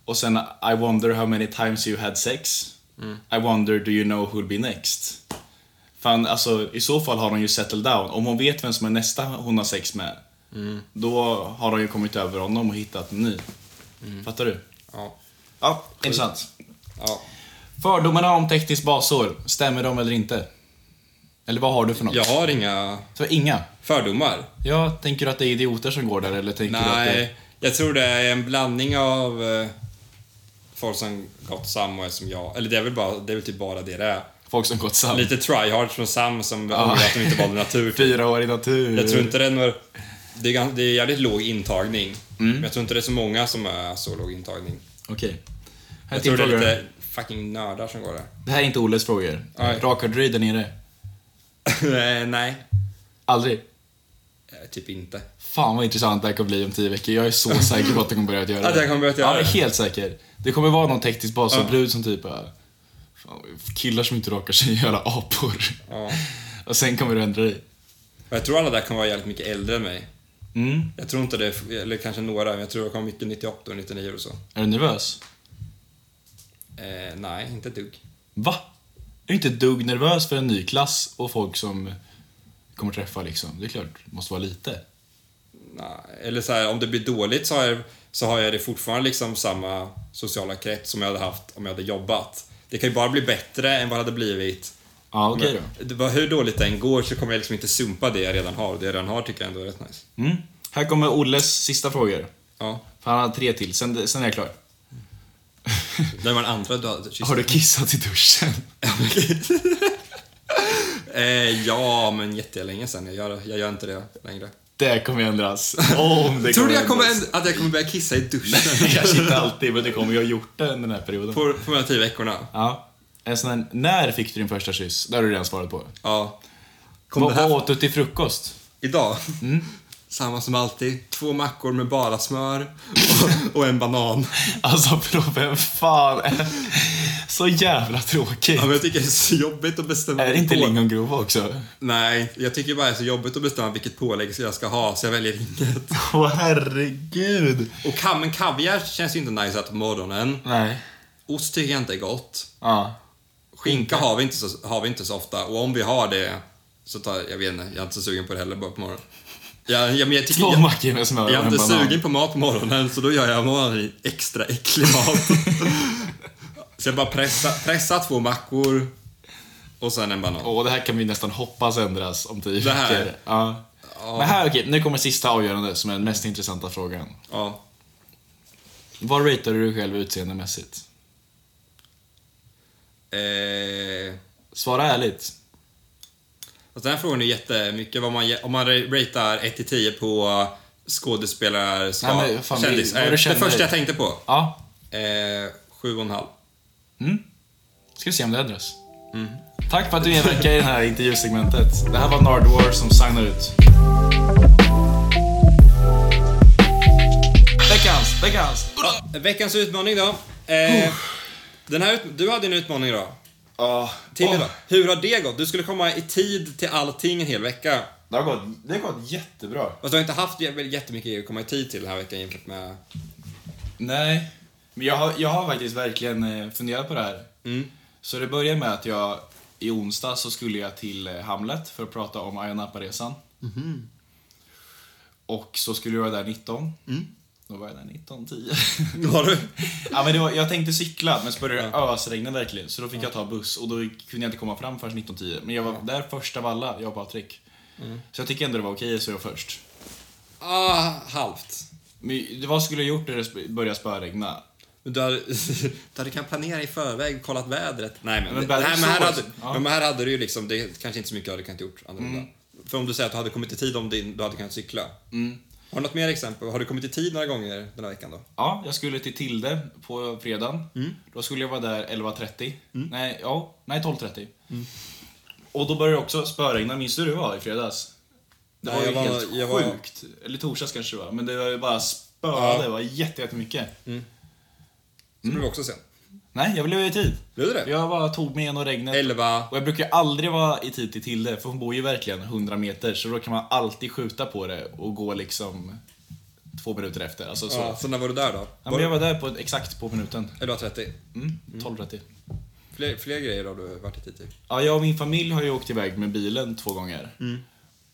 [SPEAKER 3] Och sen I wonder how many times you had sex. I wonder do you know who'll be next. Fan, alltså i så fall har hon ju settled down. Om hon vet vem som är nästa hon har sex med. Då har hon ju kommit över honom och hittat en ny. Fattar du?
[SPEAKER 4] Ja.
[SPEAKER 3] Ja, intressant.
[SPEAKER 4] ja.
[SPEAKER 3] Fördomarna om tekniskt basår, stämmer de eller inte? Eller vad har du för något?
[SPEAKER 4] Jag har inga
[SPEAKER 3] Så inga?
[SPEAKER 4] fördomar.
[SPEAKER 3] Ja, tänker du att det är idioter som går där eller tänker du att det...
[SPEAKER 4] Nej, jag tror det är en blandning av eh, folk som gått samma som jag. Eller det är väl, bara, det är väl typ bara det det är.
[SPEAKER 3] Folk som gått samman.
[SPEAKER 4] Lite tryhard från Sam som ångrar att de inte valde natur. typ.
[SPEAKER 3] Fyra år i natur.
[SPEAKER 4] Jag tror inte det är några... Det är, gan- det är jävligt låg intagning.
[SPEAKER 3] Mm.
[SPEAKER 4] Men jag tror inte det är så många som är så låg intagning.
[SPEAKER 3] Okej. Här är
[SPEAKER 4] Jag
[SPEAKER 3] till
[SPEAKER 4] tror det är
[SPEAKER 3] frågor.
[SPEAKER 4] lite fucking nördar som går där.
[SPEAKER 3] Det här är inte Olles frågor.
[SPEAKER 4] Nej.
[SPEAKER 3] Rakar du dig där nere?
[SPEAKER 4] Eh, Nej,
[SPEAKER 3] Aldrig.
[SPEAKER 4] eh, typ inte.
[SPEAKER 3] Fan vad intressant det här kommer bli om tio veckor. Jag är så säker på att du kommer börja att göra det.
[SPEAKER 4] Att jag kommer börja att göra
[SPEAKER 3] Ja, jag är
[SPEAKER 4] det.
[SPEAKER 3] helt säker. Det kommer vara någon teknisk basorbrud som typ är... Fan, killar som inte rakar sig är jävla apor.
[SPEAKER 4] Ja.
[SPEAKER 3] Och sen kommer du ändra dig.
[SPEAKER 4] Och Jag tror alla där kommer vara jävligt mycket äldre än mig.
[SPEAKER 3] Mm.
[SPEAKER 4] Jag tror inte det, eller kanske några, men jag tror det kommer mycket 98 och 99 och så.
[SPEAKER 3] Är du nervös?
[SPEAKER 4] Eh, nej, inte ett dugg.
[SPEAKER 3] Va? Är du inte ett dugg nervös för en ny klass och folk som kommer träffa liksom? Det är klart, det måste vara lite.
[SPEAKER 4] Nej. Eller så här, om det blir dåligt så har, jag, så har jag det fortfarande liksom samma sociala krets som jag hade haft om jag hade jobbat. Det kan ju bara bli bättre än vad det hade blivit
[SPEAKER 3] Ja, okej då.
[SPEAKER 4] Men det var- Hur dåligt det än går så kommer jag liksom inte sumpa det jag redan har. Det jag redan har tycker jag ändå är rätt nice.
[SPEAKER 3] Mm. Här kommer Olles sista frågor.
[SPEAKER 4] Ja.
[SPEAKER 3] För han hade tre till, sen, sen är jag klar.
[SPEAKER 4] Det var en andra du hade kysst.
[SPEAKER 3] Har du kissat i duschen?
[SPEAKER 4] eh, Ja, men jättelänge sen. Jag gör, jag gör inte det längre.
[SPEAKER 3] Det kommer ändras. Om det
[SPEAKER 4] Tror du jag
[SPEAKER 3] ändras.
[SPEAKER 4] kommer änd- att jag kommer börja kissa i duschen
[SPEAKER 3] Jag sitter alltid, men det kommer jag ha gjort det den här perioden.
[SPEAKER 4] på, på de här tio veckorna?
[SPEAKER 3] Ja. En sån här, när fick du din första kyss? Det har du redan svarat på.
[SPEAKER 4] Ja. Kom
[SPEAKER 3] Vad
[SPEAKER 4] det här
[SPEAKER 3] vad åt du till frukost?
[SPEAKER 4] idag?
[SPEAKER 3] Mm.
[SPEAKER 4] Samma som alltid. Två mackor med bara smör och, och en banan.
[SPEAKER 3] Alltså bro, vem fan är så jävla tråkig?
[SPEAKER 4] Ja, men jag tycker det är så jobbigt att bestämma.
[SPEAKER 3] Är det inte
[SPEAKER 4] på-
[SPEAKER 3] lingongrova också?
[SPEAKER 4] Nej, jag tycker bara det är så jobbigt att bestämma vilket pålägg jag ska ha, så jag väljer inget.
[SPEAKER 3] Åh herregud.
[SPEAKER 4] Och ka- men kaviar känns ju inte nice att äta på morgonen.
[SPEAKER 3] Nej.
[SPEAKER 4] Ost tycker jag inte är gott.
[SPEAKER 3] Ja.
[SPEAKER 4] Skinka har vi, inte så, har vi inte så ofta och om vi har det så tar jag vet inte, jag är inte så sugen på det heller bara på morgonen. Jag, jag, men jag, tycker,
[SPEAKER 3] Två
[SPEAKER 4] jag,
[SPEAKER 3] mackor med smör
[SPEAKER 4] jag är
[SPEAKER 3] och en
[SPEAKER 4] inte
[SPEAKER 3] banan.
[SPEAKER 4] sugen på mat på morgonen så då gör jag morgonen extra äcklig mat. så jag bara pressar pressa två mackor och sen en banan.
[SPEAKER 3] Åh, det här kan vi nästan hoppas ändras om tio
[SPEAKER 4] Det här?
[SPEAKER 3] veckor. Ja. Men här, okej, nu kommer sista avgörande som är den mest intressanta frågan.
[SPEAKER 4] Ja.
[SPEAKER 3] Vad ratear du dig själv utseendemässigt?
[SPEAKER 4] Eh,
[SPEAKER 3] Svara ärligt.
[SPEAKER 4] alltså den här frågan är jättemycket vad man, ge- om man ratear 1-10 på skådespelarskap.
[SPEAKER 3] Nej, men fan, vi-
[SPEAKER 4] kändis.
[SPEAKER 3] vad
[SPEAKER 4] Eh,
[SPEAKER 3] du
[SPEAKER 4] det
[SPEAKER 3] känner
[SPEAKER 4] första
[SPEAKER 3] dig.
[SPEAKER 4] jag tänkte på.
[SPEAKER 3] Ja, Mm.
[SPEAKER 4] Eh, sju och en halv.
[SPEAKER 3] ska vi se om det ändras.
[SPEAKER 4] Mm.
[SPEAKER 3] Tack för att du medverkar i det här intervjusegmentet. Det här var Nard War som signar ut. Veckans, veckans.
[SPEAKER 4] Veckans utmaning då. Eh, den här, ut- du hade en utmaning idag.
[SPEAKER 3] Ja,
[SPEAKER 4] Till idag. Hur har det gått? Du skulle komma i tid till allting en hel vecka.
[SPEAKER 3] det har gått, det har gått jättebra.
[SPEAKER 4] Och du har inte haft jä- jättemycket att komma i tid till den här veckan jämfört med...
[SPEAKER 3] Nej, men jag har, jag har faktiskt verkligen eh, funderat på det här. Så det börjar med att jag i onsdag så skulle jag till eh, Hamlet för att prata om Ayia Napa-resan. Och så skulle jag vara där 19. Då var jag där 19.10.
[SPEAKER 4] Har du?
[SPEAKER 3] ja, men det var, jag tänkte cykla, men så började det ösregna verkligen. Så då fick jag ta buss och då kunde jag inte komma fram förrän 19.10. Men jag var där först av alla, jag och Patrik. Så jag tycker ändå det var okej, så jag var först.
[SPEAKER 4] Ah, halvt.
[SPEAKER 3] Men vad skulle jag gjort när det sp- började spöregna?
[SPEAKER 4] Men Du hade, du hade kan planera i förväg, kollat vädret. Nej men,
[SPEAKER 3] Men
[SPEAKER 4] det, nej, men, här,
[SPEAKER 3] så-
[SPEAKER 4] hade,
[SPEAKER 3] ja.
[SPEAKER 4] ja. men här hade du ju liksom, det kanske inte så mycket jag hade kunnat gjort annorlunda. För om du säger att du hade kommit i tid om din, du hade kunnat cykla. Har du något mer exempel? Har du kommit i tid några gånger den här veckan då?
[SPEAKER 3] Ja, jag skulle till Tilde på fredagen.
[SPEAKER 4] Mm.
[SPEAKER 3] Då skulle jag vara där 11.30. Nej, ja, nej 12.30.
[SPEAKER 4] Mm.
[SPEAKER 3] Och då började det också spöregna. Minns du hur det var i fredags? Det
[SPEAKER 4] Nej,
[SPEAKER 3] var ju
[SPEAKER 4] jag var-
[SPEAKER 3] helt
[SPEAKER 4] jag var-
[SPEAKER 3] sjukt. Eller torsdags kanske det var. Men det var ju bara spöade.
[SPEAKER 4] Ja. Mm.
[SPEAKER 3] Det var jätte- jättemycket.
[SPEAKER 4] Så blev vi också sen.
[SPEAKER 3] Nej, jag blev i tid.
[SPEAKER 4] Blev du det?
[SPEAKER 3] Jag bara tog mig igenom regnet.
[SPEAKER 4] 11.
[SPEAKER 3] Och jag brukar ju aldrig vara i tid till Tilde, för hon bor ju verkligen 100 meter. Så då kan man alltid skjuta på det och gå liksom två minuter efter. Alltså, så.
[SPEAKER 4] Ja, så när var du där då?
[SPEAKER 3] Ja, men jag var där på, exakt på minuten.
[SPEAKER 4] 11.30.
[SPEAKER 3] Mm, 12.30.
[SPEAKER 4] Fler, fler grejer har du varit i tid till.
[SPEAKER 3] Ja, jag och min familj har ju åkt iväg med bilen två gånger.
[SPEAKER 4] Mm.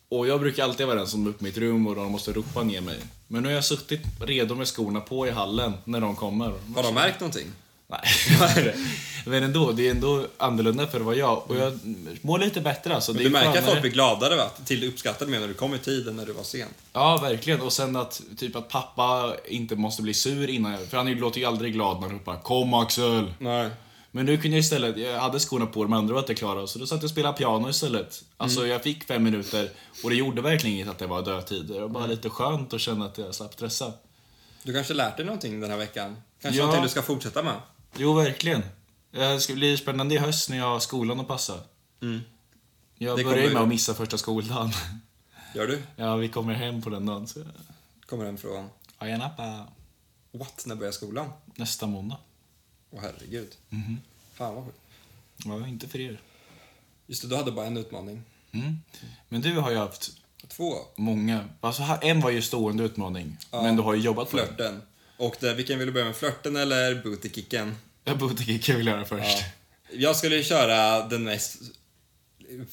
[SPEAKER 3] Och jag brukar alltid vara den som är upp i mitt rum och de måste ropa ner mig. Men nu har jag suttit redo med skorna på i hallen när de kommer.
[SPEAKER 4] Har de märkt någonting?
[SPEAKER 3] Nej, men ändå. Det är ändå annorlunda för vad jag. Och jag mår lite bättre alltså. Det
[SPEAKER 4] Du
[SPEAKER 3] är
[SPEAKER 4] märker att
[SPEAKER 3] skönare.
[SPEAKER 4] folk blir gladare va? Till uppskattade mer när du kom i tid än när du var sen.
[SPEAKER 3] Ja, verkligen. Och sen att, typ att pappa inte måste bli sur innan jag... För han låter ju aldrig glad när han ropar “Kom Axel!”
[SPEAKER 4] Nej.
[SPEAKER 3] Men nu kunde jag istället, jag hade skorna på de andra var inte klara så då satt jag och spelade piano istället. Alltså
[SPEAKER 4] Mm.
[SPEAKER 3] jag fick fem minuter och det gjorde verkligen inget att det var dödtid. Det var bara
[SPEAKER 4] Mm.
[SPEAKER 3] lite skönt att känna att jag slapp stressa.
[SPEAKER 4] Du kanske lärt dig någonting den här veckan? Kanske
[SPEAKER 3] Ja.
[SPEAKER 4] någonting du ska fortsätta med?
[SPEAKER 3] Jo, verkligen. Eh, Det ska bli spännande i höst när jag har skolan att passa. Jag
[SPEAKER 4] Mm. Det
[SPEAKER 3] börjar ju
[SPEAKER 4] kommer-
[SPEAKER 3] med att missa första skoldagen.
[SPEAKER 4] Gör du?
[SPEAKER 3] ja, vi kommer hem på den dagen. Så...
[SPEAKER 4] Kommer den från...
[SPEAKER 3] Ayia Napa
[SPEAKER 4] What? När börjar skolan?
[SPEAKER 3] nästa måndag.
[SPEAKER 4] Åh herregud.
[SPEAKER 3] Mhm.
[SPEAKER 4] Fan vad sjukt.
[SPEAKER 3] Ja, inte för er.
[SPEAKER 4] Just det, du hade bara en utmaning.
[SPEAKER 3] Mm. Men du har ju haft
[SPEAKER 4] Två.
[SPEAKER 3] många. Alltså, här- en var ju stående utmaning, men du har ju jobbat på den.
[SPEAKER 4] Flörten. Och det, vilken vill du börja med? Flörten eller bootykicken?
[SPEAKER 3] Jag borde kul att göra först.
[SPEAKER 4] Ja. Jag skulle ju köra den mest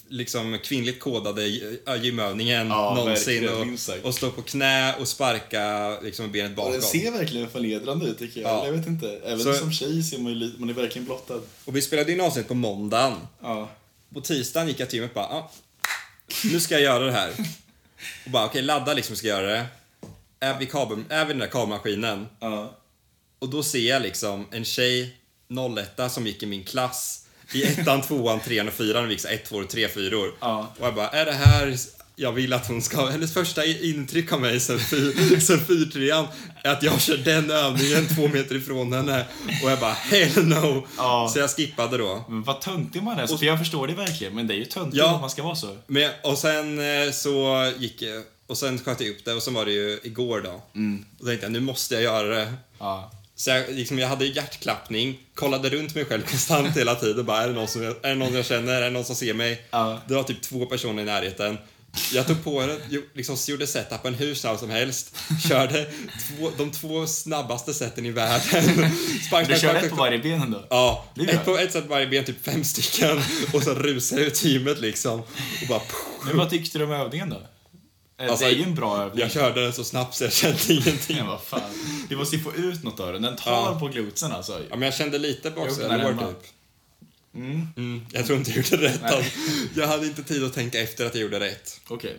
[SPEAKER 4] liksom kvinnligt kodade gy- ja, gymövningen
[SPEAKER 3] Ja,
[SPEAKER 4] någonsin.
[SPEAKER 3] verkligen, minst sagt.
[SPEAKER 4] Och, och stå på knä och sparka liksom benet
[SPEAKER 3] Ja,
[SPEAKER 4] bakåt.
[SPEAKER 3] den ser verkligen förnedrande ut tycker jag.
[SPEAKER 4] Ja.
[SPEAKER 3] Eller Jag vet inte. Även
[SPEAKER 4] Så-
[SPEAKER 3] som tjej ser man ju lite, man är verkligen blottad.
[SPEAKER 4] Och vi spelade in avsnitt på måndagen.
[SPEAKER 3] Ja.
[SPEAKER 4] På tisdagen gick jag till gymmet och bara, ah, nu ska jag göra det här. Och bara, okej ladda liksom, ska jag göra det. Är vid, kabel, är vid den där kabelmaskinen.
[SPEAKER 3] ja.
[SPEAKER 4] Och då ser jag liksom en tjej, 01 som gick i min klass i ettan, tvåan, trean och fyran. Vi gick så här ett, två och tre fyror.
[SPEAKER 3] Ja.
[SPEAKER 4] Och jag bara, är det här jag vill att hon ska, hennes första intryck av mig sen fy- sen fyrtrean är att jag kör den övningen två meter ifrån henne och jag bara hell no.
[SPEAKER 3] Ja.
[SPEAKER 4] Så jag skippade då.
[SPEAKER 3] Men vad töntig man är. För jag förstår det verkligen, men det är ju töntigt
[SPEAKER 4] Ja.
[SPEAKER 3] att man ska vara så.
[SPEAKER 4] Men, och sen eh, så gick jag- och sen sköt jag upp det och sen var det ju igår då.
[SPEAKER 3] Mm.
[SPEAKER 4] Och då tänkte jag, nu måste jag göra det.
[SPEAKER 3] Ja.
[SPEAKER 4] Så jag, liksom, jag hade ju hjärtklappning, kollade runt mig själv konstant hela tiden. Bara, är, det någon som, är det någon jag känner? Är det någon som ser mig?
[SPEAKER 3] Ja.
[SPEAKER 4] Det var typ två personer i närheten. Jag tog på den, jo- liksom, gjorde setupen hur snabb som helst. Körde två, de två snabbaste seten i världen. Sprang,
[SPEAKER 3] Du
[SPEAKER 4] sprang,
[SPEAKER 3] kör
[SPEAKER 4] sprang,
[SPEAKER 3] ett på
[SPEAKER 4] sprang.
[SPEAKER 3] varje ben ändå?
[SPEAKER 4] Ja,
[SPEAKER 3] Det är bra.
[SPEAKER 4] ett på ett sätt varje ben, typ fem stycken. Och så rusar jag ur teamet liksom. Och bara...
[SPEAKER 3] Men vad tyckte du om övningen då? Eh,
[SPEAKER 4] Alltså,
[SPEAKER 3] det är ju en bra övning.
[SPEAKER 4] Jag körde den så snabbt så jag kände ingenting.
[SPEAKER 3] Men vad fan. Du måste ju få ut något av den. Den tar
[SPEAKER 4] Ja.
[SPEAKER 3] på glotsen alltså.
[SPEAKER 4] Ja, men jag kände lite
[SPEAKER 3] Jag
[SPEAKER 4] baksidan
[SPEAKER 3] öppnar
[SPEAKER 4] i
[SPEAKER 3] den, va?
[SPEAKER 4] vår typ. Mm, jag tror inte jag gjorde rätt.
[SPEAKER 3] Nej.
[SPEAKER 4] Alltså. Jag hade inte tid att tänka efter att jag gjorde rätt.
[SPEAKER 3] Okej.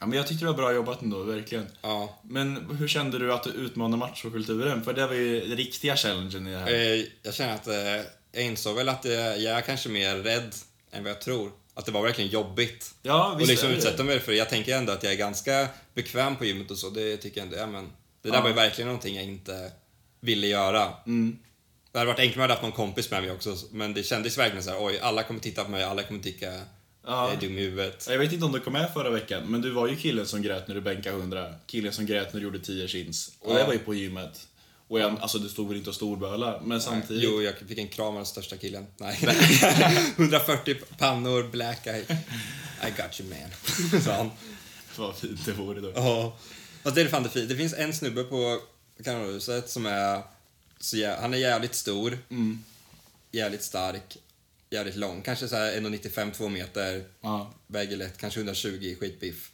[SPEAKER 3] Ja, men jag tyckte det var bra jobbat ändå, verkligen.
[SPEAKER 4] Ja.
[SPEAKER 3] Men hur kände du att du utmanade machokulturen? För det var ju den riktiga challengen i det här.
[SPEAKER 4] Eh, Jag känner att eh, jag insåg väl att eh, jag är kanske mer rädd än vad jag tror. Att det var verkligen jobbigt.
[SPEAKER 3] Ja,
[SPEAKER 4] och
[SPEAKER 3] visst
[SPEAKER 4] liksom
[SPEAKER 3] är det.
[SPEAKER 4] utsätta mig för det. Jag tänker ändå att jag är ganska bekväm på gymmet och så. Det tycker jag ändå. Ja, Mm. men det där var ju verkligen någonting jag inte ville göra. Det hade varit enklare om jag hade haft någon kompis med mig också. Men det kändes verkligen så här, oj, alla kommer titta på mig, alla kommer tycka
[SPEAKER 3] Ja.
[SPEAKER 4] jag är dum i huvudet.
[SPEAKER 3] Jag vet inte om du kom med förra veckan, men du var ju killen som grät när du bänkade 100. Killen som grät när du gjorde 10 chins. Och det
[SPEAKER 4] Ja.
[SPEAKER 3] var ju på gymmet. Och jag, alltså du stod väl inte och storböla, men samtidigt.
[SPEAKER 4] Jo, jag fick en kram av den största killen. Nej. 140 pannor, black eye. I got you man, sa han.
[SPEAKER 3] Vad fint det vore då.
[SPEAKER 4] Ja. Fast det är fan det fint. Det finns en snubbe på kanalhuset som är... Så jä- han är jävligt stor,
[SPEAKER 3] Mm.
[SPEAKER 4] jävligt stark, jävligt lång. Kanske så här 1,95-2 meter,
[SPEAKER 3] Ja. Mm.
[SPEAKER 4] väger lätt, kanske 120, skitbiff.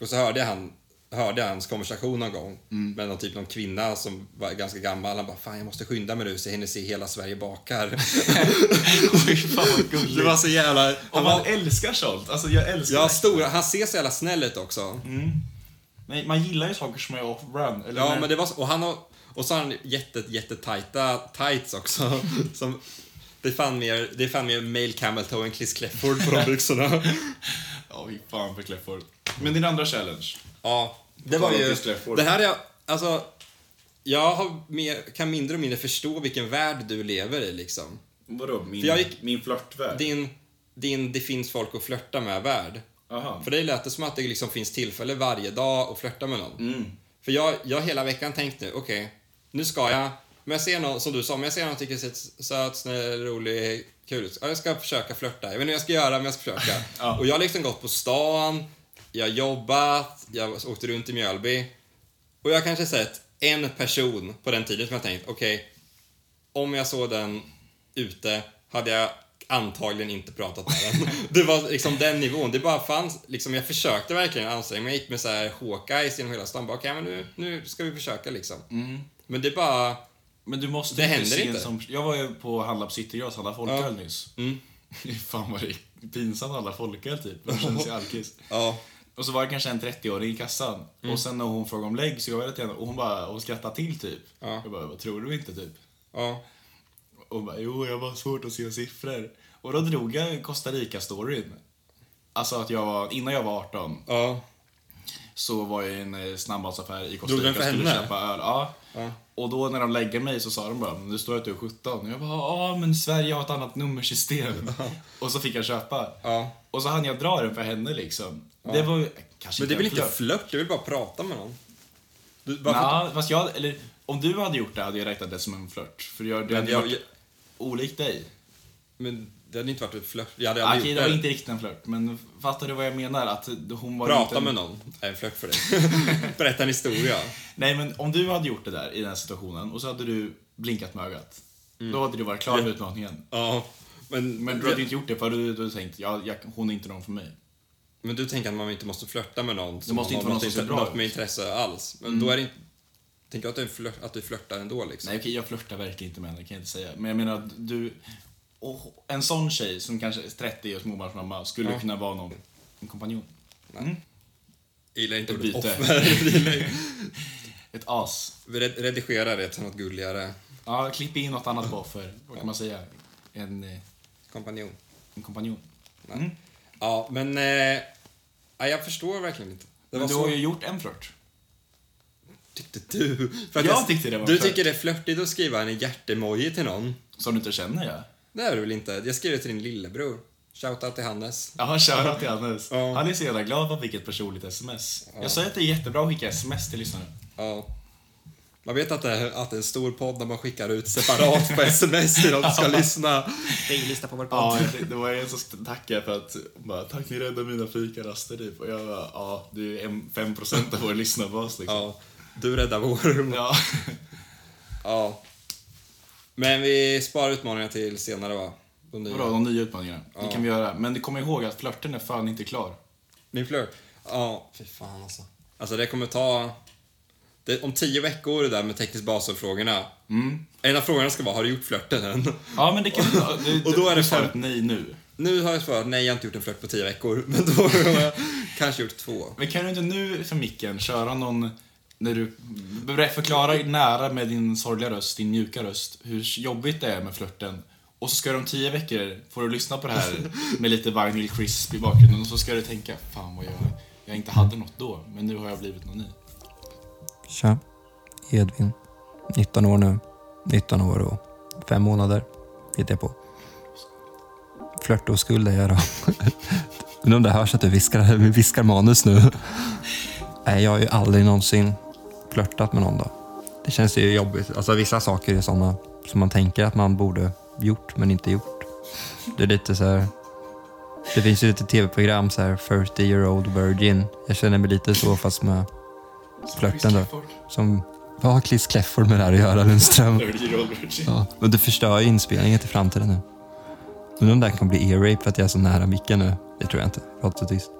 [SPEAKER 4] Och så hörde jag, han, hörde jag hans konversation någon gång
[SPEAKER 3] Mm.
[SPEAKER 4] med någon, typ någon kvinna som var ganska gammal. Han bara, fan jag måste skynda mig nu så jag hinner se hela Sverige bakar.
[SPEAKER 3] Fy fan vad
[SPEAKER 4] det var
[SPEAKER 3] gulligt.
[SPEAKER 4] så jävla...
[SPEAKER 3] Och
[SPEAKER 4] Han
[SPEAKER 3] man
[SPEAKER 4] var,
[SPEAKER 3] älskar sånt. Alltså jag älskar
[SPEAKER 4] ja,
[SPEAKER 3] det.
[SPEAKER 4] stor, han ser så jävla snäll ut också.
[SPEAKER 3] Nej, man gillar ju saker som är off-run. Eller
[SPEAKER 4] Ja,
[SPEAKER 3] när-
[SPEAKER 4] men det var så, och han har, och så har han jätte, jättetajta tights också. Som, det är fan mer, det är fan mer male camel toe än Chris Clefford på de byxorna.
[SPEAKER 3] Ja, fy fan för Clefford. Men din andra challenge?
[SPEAKER 4] ja, det var ju,
[SPEAKER 3] Chris Clefford.
[SPEAKER 4] det här är, jag- alltså, jag har mer, kan mindre och mindre förstå vilken värld du lever i liksom.
[SPEAKER 3] Vadå? Min,
[SPEAKER 4] För jag gick-
[SPEAKER 3] min flörtvärld?
[SPEAKER 4] Din, din det finns folk att flörta med värld.
[SPEAKER 3] Aha.
[SPEAKER 4] För dig lät det som att det liksom finns tillfälle varje dag att flörta med någon. För jag, jag hela veckan tänkt nu, okej, nu ska jag, men jag ser någon, som du sa, men jag ser någon som tycker ser söt, snäll, rolig, kul ut. Ja, jag ska försöka flörta. Jag vet inte hur jag ska göra, men jag ska försöka.
[SPEAKER 3] Ja.
[SPEAKER 4] Och jag har liksom gått på stan, jag har jobbat, jag åkte runt i Mjölby. Och jag har kanske sett en person på den tiden som jag tänkt, okej, om jag såg den ute hade jag antagligen inte pratat med den. Det var liksom den nivån. Det bara fanns, liksom, jag försökte verkligen anstränga mig. Jag gick med så här Hawkeyes genom hela stan. Bara, okej, men nu, nu ska vi försöka liksom.
[SPEAKER 3] Mm.
[SPEAKER 4] Men det bara...
[SPEAKER 3] Men du måste
[SPEAKER 4] Det
[SPEAKER 3] ju
[SPEAKER 4] händer
[SPEAKER 3] se en
[SPEAKER 4] inte.
[SPEAKER 3] Som, jag var ju på Handla på Citygross, handla folköl
[SPEAKER 4] Ja. Mm.
[SPEAKER 3] nyss. Fy fan vad det är pinsamt alla folköl typ. Man känner sig alkis.
[SPEAKER 4] Ja.
[SPEAKER 3] Och så var det kanske en 30-åring i kassan.
[SPEAKER 4] Mm.
[SPEAKER 3] Och sen när hon frågade om lägg så gav jag det till henne och hon bara hon skrattade till typ.
[SPEAKER 4] Ja.
[SPEAKER 3] Jag bara, vad tror du inte typ?
[SPEAKER 4] ja.
[SPEAKER 3] Och hon bara, jo jag var svårt att se siffror. Och då drog jag Costa Rica-storyn. Alltså att jag var, innan jag var 18
[SPEAKER 4] ja.
[SPEAKER 3] så var jag i en eh, snabbmatsaffär i Costa
[SPEAKER 4] Drog
[SPEAKER 3] Rica
[SPEAKER 4] den
[SPEAKER 3] och
[SPEAKER 4] för
[SPEAKER 3] skulle
[SPEAKER 4] henne?
[SPEAKER 3] köpa öl. Ja. Och då när de lägger mig så sa de bara, nu står det att du är 17. Och jag bara, ja men Sverige har ett annat nummersystem. och så fick jag köpa.
[SPEAKER 4] Ja.
[SPEAKER 3] Och så hann jag dra den för henne liksom. Det var ju- kanske
[SPEAKER 4] Men det är väl
[SPEAKER 3] en
[SPEAKER 4] inte
[SPEAKER 3] flört.
[SPEAKER 4] flört? Du vill bara prata med någon. Du, bara för-
[SPEAKER 3] Nja, fast jag, eller om du hade gjort det hade jag räknat det som en flört. För jag, det
[SPEAKER 4] men,
[SPEAKER 3] hade
[SPEAKER 4] jag,
[SPEAKER 3] varit olikt dig.
[SPEAKER 4] men det hade inte varit en flört. Jag hade
[SPEAKER 3] Okej,
[SPEAKER 4] aldrig
[SPEAKER 3] det var
[SPEAKER 4] gjort
[SPEAKER 3] inte riktigt en flört, men fattar du vad jag menar? Att hon var
[SPEAKER 4] det.
[SPEAKER 3] inte
[SPEAKER 4] Prata
[SPEAKER 3] en...
[SPEAKER 4] med någon är en flört för dig. Berätta en historia.
[SPEAKER 3] Nej, men om du hade gjort det där i den här situationen och så hade du blinkat med ögat.
[SPEAKER 4] Mm.
[SPEAKER 3] Då hade du varit klar med utmaningen.
[SPEAKER 4] Ja. Men,
[SPEAKER 3] Men du hade ju inte gjort det för du, du hade tänkt, ja, jag, hon är inte någon för mig.
[SPEAKER 4] Men du tänker att man inte måste flörta med någon som
[SPEAKER 3] måste
[SPEAKER 4] har
[SPEAKER 3] inte vara någon som ser
[SPEAKER 4] intre-
[SPEAKER 3] bra Mm.
[SPEAKER 4] något med intresse alls. Men då är det inte... Tänker jag att du, flört, att du flörtar ändå liksom?
[SPEAKER 3] Nej okej, jag flörtar verkligen inte med henne, kan jag inte säga. Men jag menar, att du... Och en sån tjej som kanske är 30 och småbarnsmamma skulle kunna vara någon, en kompanjon.
[SPEAKER 4] Jag gillar inte
[SPEAKER 3] Ett
[SPEAKER 4] ordet
[SPEAKER 3] byte.
[SPEAKER 4] offer. Jag gillar ju-
[SPEAKER 3] Ett as.
[SPEAKER 4] Vi red- Redigerar det till något gulligare.
[SPEAKER 3] Ja, klipp in något annat på för, vad kan man säga? En, eh,
[SPEAKER 4] Kompanjon.
[SPEAKER 3] en kompanjon.
[SPEAKER 4] Ja, men... Eh, Nej, jag förstår verkligen inte. Det var
[SPEAKER 3] Men du
[SPEAKER 4] så...
[SPEAKER 3] har ju gjort en flört.
[SPEAKER 4] Tyckte du? För
[SPEAKER 3] Jag tyckte det var
[SPEAKER 4] Du
[SPEAKER 3] flört.
[SPEAKER 4] tycker det är flörtigt att skriva en hjärtemoji till någon?
[SPEAKER 3] Som du inte känner ja.
[SPEAKER 4] Det är det väl inte? Jag skrev det till din lillebror. Shoutout till Hannes.
[SPEAKER 3] Ja, shoutout till Hannes.
[SPEAKER 4] Ja.
[SPEAKER 3] Han är så jävla glad att vi fick ett personligt sms. Jag säger att det är jättebra att skicka sms till lyssnare.
[SPEAKER 4] Ja. Man vet att det, är, att det är en stor podd när man skickar ut separat på sms till de som ska lyssna. Hej, lyssna på vår
[SPEAKER 3] Ja, det- det var en som tackade för att, bara, tack ni räddade mina fikaraster typ. Och jag bara, ja du är en- 5% av vår lyssnarbas liksom.
[SPEAKER 4] Ja. Du räddar vår. Ja.
[SPEAKER 3] Ja.
[SPEAKER 4] Men vi sparar utmaningarna till senare va? De nya.
[SPEAKER 3] Bra, de nya utmaningarna. Det kan vi göra. Men du kommer ihåg att flörten är fan inte klar.
[SPEAKER 4] Min flört? Ja, fy fan alltså. Alltså det kommer ta... Det, om tio veckor det där med teknisk basfrågorna. Mm. En av frågorna ska vara, har du gjort flörten än?
[SPEAKER 3] Ja, men det kan ja, du,
[SPEAKER 4] Och då är
[SPEAKER 3] du
[SPEAKER 4] det
[SPEAKER 3] sa
[SPEAKER 4] för-
[SPEAKER 3] ett nej nu.
[SPEAKER 4] Nu har jag svarat, nej jag har inte gjort en flört på tio veckor. Men då har jag kanske gjort två.
[SPEAKER 3] Men kan du inte nu för micken köra någon, när du ber- förklarar nära med din sorgliga röst, din mjuka röst, hur jobbigt det är med flörten. Och så ska du om tio veckor, får du lyssna på det här med lite Vinyl Crisp i bakgrunden och så ska du tänka, fan vad jag, jag inte hade något då, men nu har jag blivit någon ny.
[SPEAKER 7] Tja, Edvin. 19 år nu. 19 år och fem månader, hittar jag på. Flörtoskuld är jag då. Undrar om det hörs att du viskar, vi viskar manus nu. Nej, jag har ju aldrig någonsin flörtat med någon då. Det känns ju jobbigt. Alltså vissa saker är sådana som man tänker att man borde gjort men inte gjort. Det är lite så här. Det finns ju lite tv-program så här 30 year old virgin. Jag känner mig lite så fast med flörten då som vad har Chris Clefford med det här att göra Lundström? Ja, men du förstör ju inspelningen till framtiden nu. Undrar om det här kan bli ear-rape för att jag är så nära micken nu. Det tror jag inte. Prata så tyst.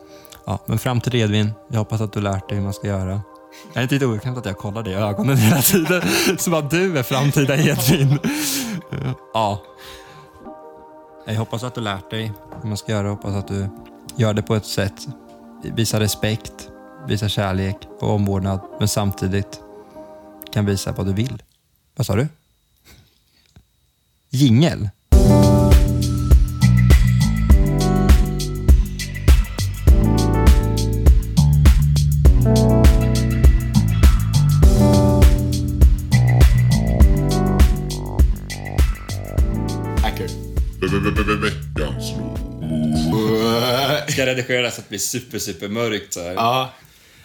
[SPEAKER 7] Ja, men fram till Edvin. Jag hoppas att du lärt dig hur man ska göra. Jag är inte lite oförskämt att jag kollar dig i ögonen hela tiden. Som att du är framtida Edvin. Ja. Jag hoppas att du lärt dig hur man ska göra. Hoppas att du gör det på ett sätt. Visa respekt, visa kärlek och omvårdnad. Men samtidigt kan visa vad du vill. Vad sa du? Jingel?
[SPEAKER 3] Hacker.
[SPEAKER 6] Ve- ve- ve- ve- Veckans låt.
[SPEAKER 4] Ska redigera det så att det blir super, super mörkt så här.
[SPEAKER 3] Ja.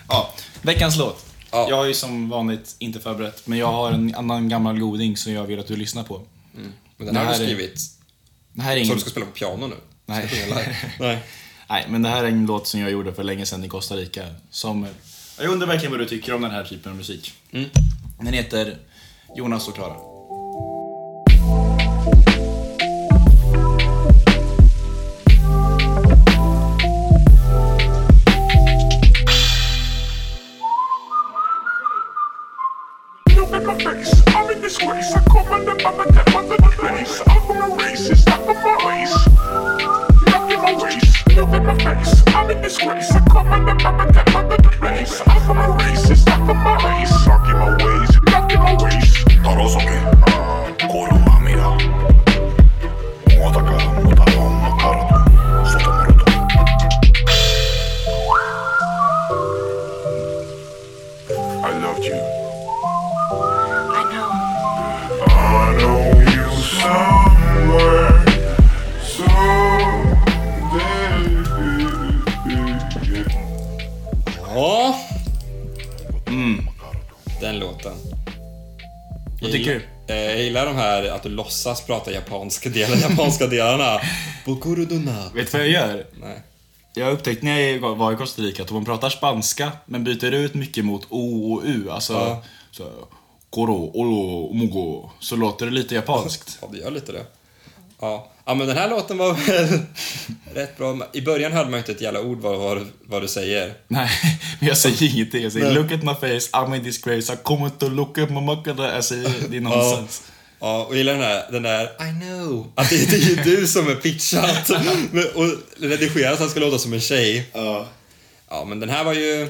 [SPEAKER 3] ja. Veckans låt.
[SPEAKER 4] Ja.
[SPEAKER 3] Jag har ju som vanligt inte förberett, men jag har en annan gammal goding som jag vill att du lyssnar på.
[SPEAKER 4] Men den här har
[SPEAKER 3] det här
[SPEAKER 4] du
[SPEAKER 3] är-
[SPEAKER 4] skrivit.
[SPEAKER 3] Det här är
[SPEAKER 4] Så
[SPEAKER 3] ingen...
[SPEAKER 4] du ska spela på piano nu?
[SPEAKER 3] Nej.
[SPEAKER 4] Nej.
[SPEAKER 3] Nej, men det här är en låt som jag gjorde för länge sedan i Costa Rica. Som... Jag undrar verkligen vad du tycker om den här typen av musik. Den heter Jonas och Klara.
[SPEAKER 8] Look at my face, I'm in disgrace. I come from the mama that mother the place. I'm from a racist, not from my race. Not from my race. Look at my face, I'm in disgrace. I come from the mama that mother the place. I'm from a racist, not from my race. Not in my ways, not in my ways. Taroso que, koro mamira. Motaka, motaka, makaroto, sotomaroto. I loved you.
[SPEAKER 9] I know.
[SPEAKER 8] I know you somewhere, so
[SPEAKER 4] Ja. Mm. Den låten. Vad
[SPEAKER 3] tycker du?
[SPEAKER 4] Jag gillar de här att du låtsas prata japanska delar, japanska delarna. Bokuruduna.
[SPEAKER 3] Vet du vad jag gör?
[SPEAKER 4] Nej.
[SPEAKER 3] Jag har upptäckt när jag var i Costa Rica att om man pratar spanska men byter ut mycket mot o och u, alltså
[SPEAKER 4] Ja.
[SPEAKER 3] så, koro, olo, mugo, så låter det lite japanskt.
[SPEAKER 4] Ja, det gör lite det. Ja. ja, men den här låten var väl rätt bra. I början hörde man ju inte ett jävla ord vad, vad, vad du säger.
[SPEAKER 3] Nej, men jag säger ingenting. Jag säger look at my face, I'm in disgrace, I come to look at my makada. Jag säger det är nonsens.
[SPEAKER 4] Ja, och gillar den där, den där I know. Att det, det är ju du som är pitchat Men- och redigerat så han ska låta som en tjej.
[SPEAKER 3] Ja.
[SPEAKER 4] Ja, men den här var ju...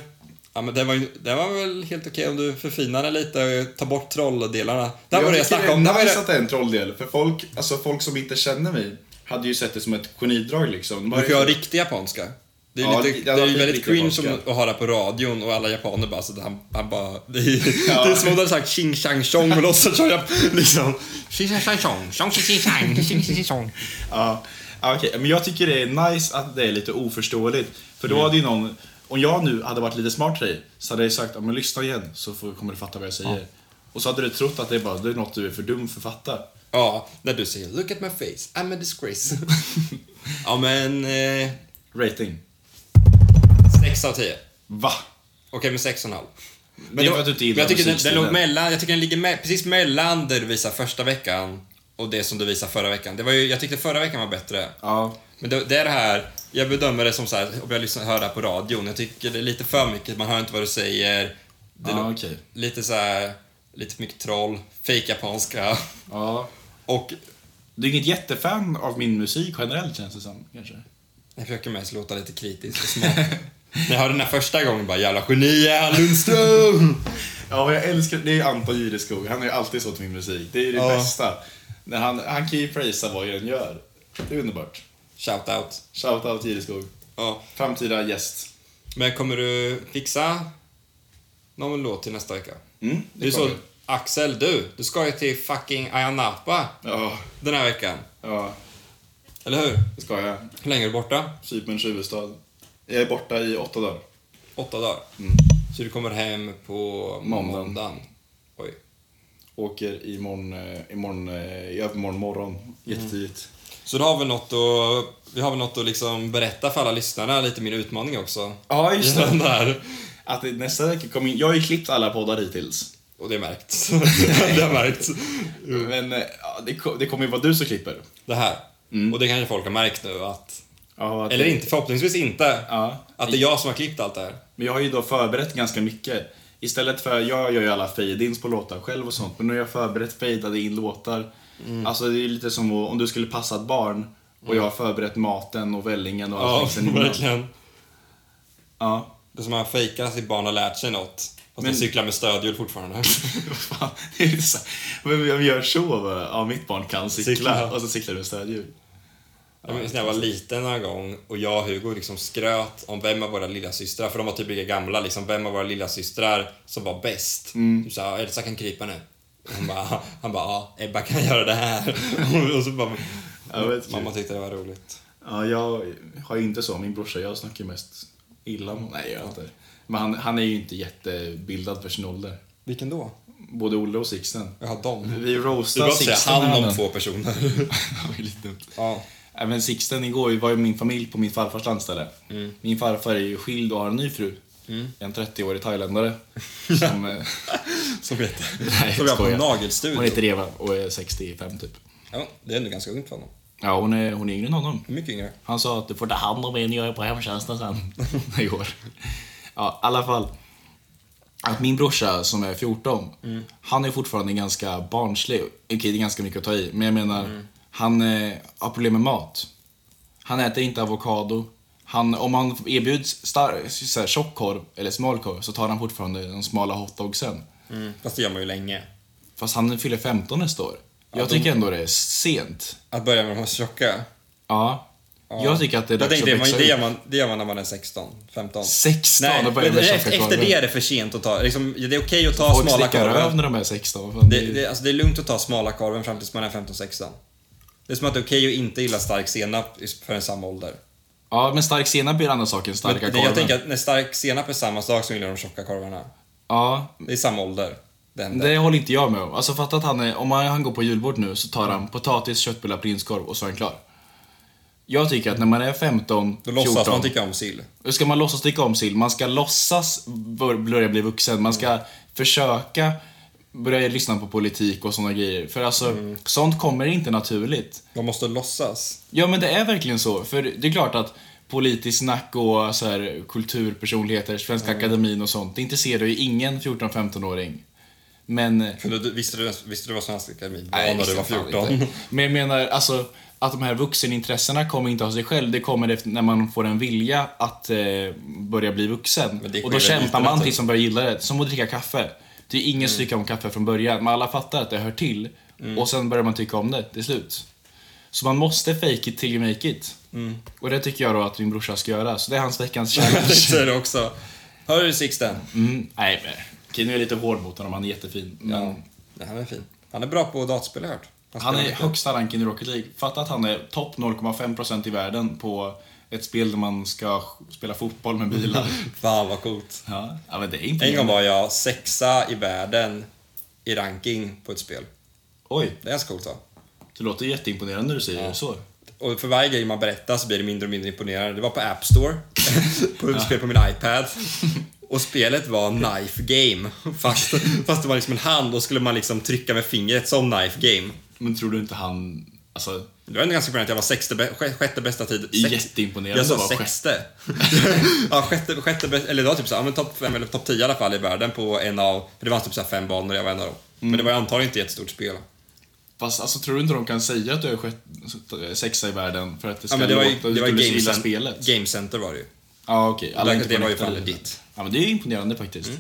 [SPEAKER 4] Ja, men den var, ju, den var väl helt okej om du förfinar den lite och tar bort trolldelarna. Det här var det jag snackade om. Det
[SPEAKER 3] Jag
[SPEAKER 4] här var
[SPEAKER 3] har
[SPEAKER 4] ju
[SPEAKER 3] missat
[SPEAKER 4] det.
[SPEAKER 3] det är en trolldel, för folk, alltså folk som inte känner mig hade ju sett det som ett genidrag liksom. De bara-
[SPEAKER 4] Du får ju ha riktig japanska. Det är,
[SPEAKER 3] Ja,
[SPEAKER 4] lite,
[SPEAKER 3] det-
[SPEAKER 4] det
[SPEAKER 3] det
[SPEAKER 4] är ju
[SPEAKER 3] var
[SPEAKER 4] väldigt
[SPEAKER 3] lite
[SPEAKER 4] cringe
[SPEAKER 3] polska.
[SPEAKER 4] som att höra på radion och alla japaner bara så att han, han bara... Det är,
[SPEAKER 3] Ja.
[SPEAKER 4] det är som om de hade sagt ching chang chong och låtsas som jag liksom... Ching chang chang chong, chong ching ching chang, ching ching ching chong.
[SPEAKER 3] Ja, ja, okej. Men jag tycker det är nice att det är lite oförståeligt. För
[SPEAKER 4] Mm.
[SPEAKER 3] då hade ju någon, om jag nu hade varit lite smart till dig, så hade jag sagt ja, men lyssna igen så får, kommer du fatta vad jag säger. Och så hade du trott att det är, bara, det är något du är för dum för att fatta.
[SPEAKER 4] Ja, när du säger look at my face, I'm a disgrace. ja men... Eh,
[SPEAKER 3] Rating.
[SPEAKER 4] 6 av 10.
[SPEAKER 3] Va?
[SPEAKER 4] Okej, men 6,5.
[SPEAKER 3] Det är för att du inte gillar
[SPEAKER 4] men jag tycker den, den
[SPEAKER 3] musikstilen.
[SPEAKER 4] låg mellan, jag tycker den ligger me- precis mellan det du visade första veckan och det som du visade förra veckan. Det var ju, jag tyckte förra veckan var bättre.
[SPEAKER 3] Ja.
[SPEAKER 4] Men det, det är det här, jag bedömer det som så här, om jag lyssnar, hör det här på radion, jag tycker det är lite för mycket, man hör inte vad du säger. Det
[SPEAKER 3] Ja,
[SPEAKER 4] lå-
[SPEAKER 3] okej.
[SPEAKER 4] Lite så här, lite för mycket troll, fake japanska
[SPEAKER 3] ja.
[SPEAKER 4] och
[SPEAKER 3] Du är inget jättefan av min musik generellt känns det som, kanske?
[SPEAKER 4] jag försöker mest låta lite kritisk och smart. När jag hörde den här första gången bara, jävla geni är han Lundström!
[SPEAKER 3] Ja, och jag älskar, det är ju Anton Gyreskog, han är ju alltid så till min musik. Det är ju det
[SPEAKER 4] Ja.
[SPEAKER 3] bästa. När han, han kan ju prisa vad jag än gör. Det är underbart.
[SPEAKER 4] Shout out.
[SPEAKER 3] Shoutout Gyreskog.
[SPEAKER 4] Ja.
[SPEAKER 3] Framtida gäst.
[SPEAKER 4] Men kommer du fixa någon låt till nästa vecka?
[SPEAKER 3] Mm,
[SPEAKER 4] Det är så,
[SPEAKER 3] kommer.
[SPEAKER 4] Axel, du, du ska ju till fucking Ayia Napa
[SPEAKER 3] Ja,
[SPEAKER 4] den här veckan.
[SPEAKER 3] ja,
[SPEAKER 4] Eller hur?
[SPEAKER 3] det ska jag.
[SPEAKER 4] Hur länge är du borta?
[SPEAKER 3] Cyperns huvudstad. Jag är borta i åtta dagar.
[SPEAKER 4] Åtta dagar. Så du kommer hem på
[SPEAKER 3] Måndagen.
[SPEAKER 4] måndagen. Oj.
[SPEAKER 3] Åker imorgon, eh, imorgon, eh, i övermorgon
[SPEAKER 4] Mm.
[SPEAKER 3] morgon, jättetidigt.
[SPEAKER 4] Så då har vi något att, vi har väl något att liksom berätta för alla lyssnarna, lite min utmaning också.
[SPEAKER 3] Ja,
[SPEAKER 4] I den där.
[SPEAKER 3] Att det- nästa vecka kommer in, jag har ju klippt alla poddar hittills.
[SPEAKER 4] Och det är märkt. det har märkts. Mm.
[SPEAKER 3] Men eh, ja, det, ko- det kommer ju vara du som klipper.
[SPEAKER 4] Det här. Och det kanske folk har märkt nu att,
[SPEAKER 3] Ja, Mm. att-
[SPEAKER 4] eller inte, förhoppningsvis inte,
[SPEAKER 3] Ja.
[SPEAKER 4] att det är jag som har klippt allt det här.
[SPEAKER 3] Men jag har ju då förberett ganska mycket. Istället för, jag gör ju alla fade-ins på låtar själv och sånt, men nu har jag förberett fadeade in låtar.
[SPEAKER 4] Mm.
[SPEAKER 3] Alltså det är ju lite som om du skulle passa ett barn och jag har förberett maten och vällingen och
[SPEAKER 4] Ja,
[SPEAKER 3] allting sen innan.
[SPEAKER 4] verkligen.
[SPEAKER 3] Ja.
[SPEAKER 4] Det är som att han fejkar att sitt barn har lärt sig något. Fast
[SPEAKER 3] Men-
[SPEAKER 4] han cyklar med stödhjul fortfarande.
[SPEAKER 3] Vad fan, det är ju så- Men jag gör så bara, ja mitt barn kan cykla,
[SPEAKER 4] Cykla.
[SPEAKER 3] och så cyklar du med stödhjul.
[SPEAKER 4] Jag minns när jag var liten någon gång och jag och Hugo liksom skröt om vem av våra lillasystrar, för de var typ lika gamla, liksom, vem av våra lillasystrar som var bäst.
[SPEAKER 3] Mm.
[SPEAKER 4] Typ såhär, Elsa kan krypa nu. Hon bara, han bara, ja, Ebba kan göra det här. och så bara,
[SPEAKER 3] Ja, vet du.
[SPEAKER 4] mamma tyckte det var roligt.
[SPEAKER 3] Ja, jag har ju inte så, min brorsa, jag snackar ju mest illa om honom. Nej, jag gör inte. Men han, han är ju inte jättebildad för sin ålder.
[SPEAKER 4] Vilken då?
[SPEAKER 3] Både Olle och Sixten.
[SPEAKER 4] Jag har dem.
[SPEAKER 3] Vi
[SPEAKER 4] Du bara
[SPEAKER 3] roastar
[SPEAKER 4] säga
[SPEAKER 3] Sixten
[SPEAKER 4] han om
[SPEAKER 3] häromdagen.
[SPEAKER 4] två personer.
[SPEAKER 3] Det var ju lite dumt.
[SPEAKER 4] ja.
[SPEAKER 3] Nej, men Sixten igår var ju min familj på min farfars landställe. Min farfar är ju skild och har en ny fru. En 30-årig thailändare. Som, eh,
[SPEAKER 4] Som vet
[SPEAKER 3] Nej,
[SPEAKER 4] Som vi har på
[SPEAKER 3] skojar. hon heter
[SPEAKER 4] nagelstudio.
[SPEAKER 3] Eva och är 65 typ.
[SPEAKER 4] Ja, det är ändå ganska ungt för honom.
[SPEAKER 3] Ja, hon är, hon är yngre än honom.
[SPEAKER 4] Mycket yngre.
[SPEAKER 3] Han sa att du får ta hand om en, jag är på hemtjänsten sen. I år. Ja, i alla fall. Att min brorsa som är 14,
[SPEAKER 4] Mm.
[SPEAKER 3] han är fortfarande ganska barnslig. Okej, det är ganska mycket att ta i, men jag menar,
[SPEAKER 4] Mm.
[SPEAKER 3] han eh, har problem med mat. Han äter inte avokado. Han, om han erbjuds star- så här, tjockkorv eller smalkorv så tar han fortfarande de smala hotdogsen.
[SPEAKER 4] Fast det gör man ju länge.
[SPEAKER 3] Fast han fyller 15 nästa år. Jag
[SPEAKER 4] de-
[SPEAKER 3] tycker ändå det är sent.
[SPEAKER 4] Att börja med de här tjocka.
[SPEAKER 3] Ja. Jag tycker att det är
[SPEAKER 4] Jag
[SPEAKER 3] dags
[SPEAKER 4] tänkte,
[SPEAKER 3] att
[SPEAKER 4] man,
[SPEAKER 3] växa
[SPEAKER 4] det, gör
[SPEAKER 3] ut.
[SPEAKER 4] man, det gör man när man är 16, 15.
[SPEAKER 3] 16
[SPEAKER 4] Nej,
[SPEAKER 3] och börjar
[SPEAKER 4] men
[SPEAKER 3] med
[SPEAKER 4] efter,
[SPEAKER 3] tjocka
[SPEAKER 4] efter
[SPEAKER 3] korvar.
[SPEAKER 4] det är det för sent att ta, liksom, det är okej att ta
[SPEAKER 3] Folk
[SPEAKER 4] smala
[SPEAKER 3] sticker
[SPEAKER 4] korven.
[SPEAKER 3] röv när de är 16. Fan,
[SPEAKER 4] Det, det, alltså, det är lugnt att ta smala korven fram tills man är 15-16. Det är som att det är okej att inte gilla stark senap i- förrän samma ålder.
[SPEAKER 3] Ja, men stark senap blir andra saken.
[SPEAKER 4] Men,
[SPEAKER 3] Starka
[SPEAKER 4] det,
[SPEAKER 3] korven.
[SPEAKER 4] jag tänker att när stark senap är samma sak som gillar de tjocka korvarna.
[SPEAKER 3] Ja,
[SPEAKER 4] Det är samma ålder. Det händer.
[SPEAKER 3] det håller inte jag med om. Alltså fatta att han är, om han, han går på julbord nu så tar han potatis, köttbullar, prinskorv och så är han klar. Jag tycker att när man är 15,
[SPEAKER 4] Då
[SPEAKER 3] 14,
[SPEAKER 4] låtsas man tycka om sill.
[SPEAKER 3] då ska man låtsas tycka om sill. Man ska låtsas bör- börja bli vuxen. Man ska försöka börja lyssna på politik och sådana grejer. För alltså,
[SPEAKER 4] Mm.
[SPEAKER 3] sånt kommer inte naturligt.
[SPEAKER 4] Man måste låtsas.
[SPEAKER 3] Ja men det är verkligen så. För det är klart att politiskt snack och så här, kulturpersonligheter, Svenska Akademin och sånt, det intresserar ju ingen 14-15-åring. Men,
[SPEAKER 4] För du, visste, du, visste du vad Svenska Akademin var
[SPEAKER 3] Nej,
[SPEAKER 4] när
[SPEAKER 3] visste
[SPEAKER 4] du var
[SPEAKER 3] jag fan
[SPEAKER 4] 14?
[SPEAKER 3] inte. men jag menar alltså att de här vuxenintressena kommer inte av sig själv. Det kommer efter, när man får en vilja att eh, börja bli
[SPEAKER 4] Men det
[SPEAKER 3] vuxen.
[SPEAKER 4] sker
[SPEAKER 3] Och då
[SPEAKER 4] väl
[SPEAKER 3] kämpar
[SPEAKER 4] utan
[SPEAKER 3] man
[SPEAKER 4] att-
[SPEAKER 3] tills man börjar gilla det. Som att dricka kaffe. Det är ingen som Mm. tycker om kaffe från början, men alla fattar att det hör till. Och sen börjar man tycka om det till slut. Så man måste fake it till you make it. Och det tycker jag då att min brorsa ska göra. Så det är hans veckans challenge.
[SPEAKER 4] Säger det också. Hör du Sixten?
[SPEAKER 3] Mm, nej, men. Okej, nu är jag lite hård mot honom. Han är jättefin. Men
[SPEAKER 4] Ja, han är fin. Han är bra på dataspel har jag hört.
[SPEAKER 3] Han
[SPEAKER 4] spelar
[SPEAKER 3] är
[SPEAKER 4] mycket.
[SPEAKER 3] högsta ranken i Rocket League. Fatta att han är topp 0,5% i världen på ett spel där man ska spela fotboll med bilar.
[SPEAKER 4] Fan vad coolt.
[SPEAKER 3] Ja, ja men det är
[SPEAKER 4] En gång
[SPEAKER 3] imponerande.
[SPEAKER 4] var jag sexa i världen i ranking på ett spel.
[SPEAKER 3] Oj,
[SPEAKER 4] Det är ganska coolt va?
[SPEAKER 3] det låter jätteimponerande när du säger det så.
[SPEAKER 4] Och för varje grej man berättar så blir det mindre och mindre imponerande. Det var på App Store, på ett spel på min iPad. Och spelet var Knife Game. Fast, fast det var liksom en hand och skulle man liksom trycka med fingret som Knife Game.
[SPEAKER 3] Men tror du inte han... Alltså,
[SPEAKER 4] Det var ändå ganska imponerande att jag var sexte, bä- sj- sjätte bästa tid.
[SPEAKER 3] Jätteimponerande
[SPEAKER 4] Jag sa
[SPEAKER 3] att vara
[SPEAKER 4] sexte. ja, sjätte, sjätte bäst, eller det var typ så här, ja, men topp fem eller topp tio i alla fall i världen på en av, för det var typ så här fem banor jag var en av dem.
[SPEAKER 3] Mm.
[SPEAKER 4] Men det var antagligen inte ett jättestort spel.
[SPEAKER 3] fast alltså, tror du inte de kan säga att du är sjätte- sexa i världen för att det
[SPEAKER 4] Ja,
[SPEAKER 3] ska
[SPEAKER 4] men det var ju,
[SPEAKER 3] låta...
[SPEAKER 4] det var ju
[SPEAKER 3] skulle så
[SPEAKER 4] game,
[SPEAKER 3] illa
[SPEAKER 4] center,
[SPEAKER 3] spelet?
[SPEAKER 4] game Center var det ju.
[SPEAKER 3] Ja, okej. Alla
[SPEAKER 4] Det-
[SPEAKER 3] är inte
[SPEAKER 4] det var ju
[SPEAKER 3] connectade
[SPEAKER 4] fan
[SPEAKER 3] lite.
[SPEAKER 4] ditt. Mm.
[SPEAKER 3] Ja, men det är ju imponerande faktiskt.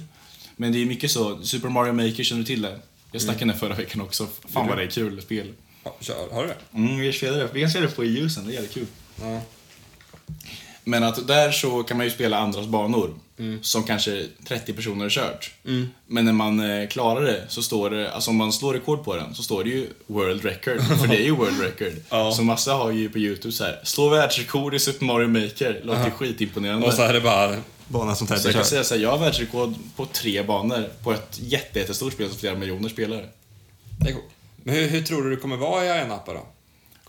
[SPEAKER 3] Men det är ju mycket så. Super Mario Maker, känner du till det?
[SPEAKER 4] Mm.
[SPEAKER 3] Jag snackade om det förra veckan också. Fan vad det är kul spel.
[SPEAKER 4] Ja, kör, har du det?
[SPEAKER 3] Mm, vi spelar det. Vi kan spela det på EU sen, det är jävligt kul.
[SPEAKER 4] Ja.
[SPEAKER 3] Men att där så kan man ju spela andras banor
[SPEAKER 4] Mm.
[SPEAKER 3] som kanske 30 personer har kört. Men när man eh, klarar det så står det, alltså om man slår rekord på den så står det ju World Record, för det är ju World Record.
[SPEAKER 4] Ja.
[SPEAKER 3] Så massa har ju på YouTube så här, slå världsrekord i Super Mario Maker, låter ju skitimponerande.
[SPEAKER 4] Och så är det bara
[SPEAKER 7] Bana som
[SPEAKER 3] Så jag
[SPEAKER 7] Teddy
[SPEAKER 3] kan
[SPEAKER 7] kör.
[SPEAKER 3] säga så här, jag har världsrekord på tre banor på ett jätte, jättestort spel som flera miljoner spelare.
[SPEAKER 4] Det är coolt. Men hur, hur tror du det kommer vara i Arena Appa då?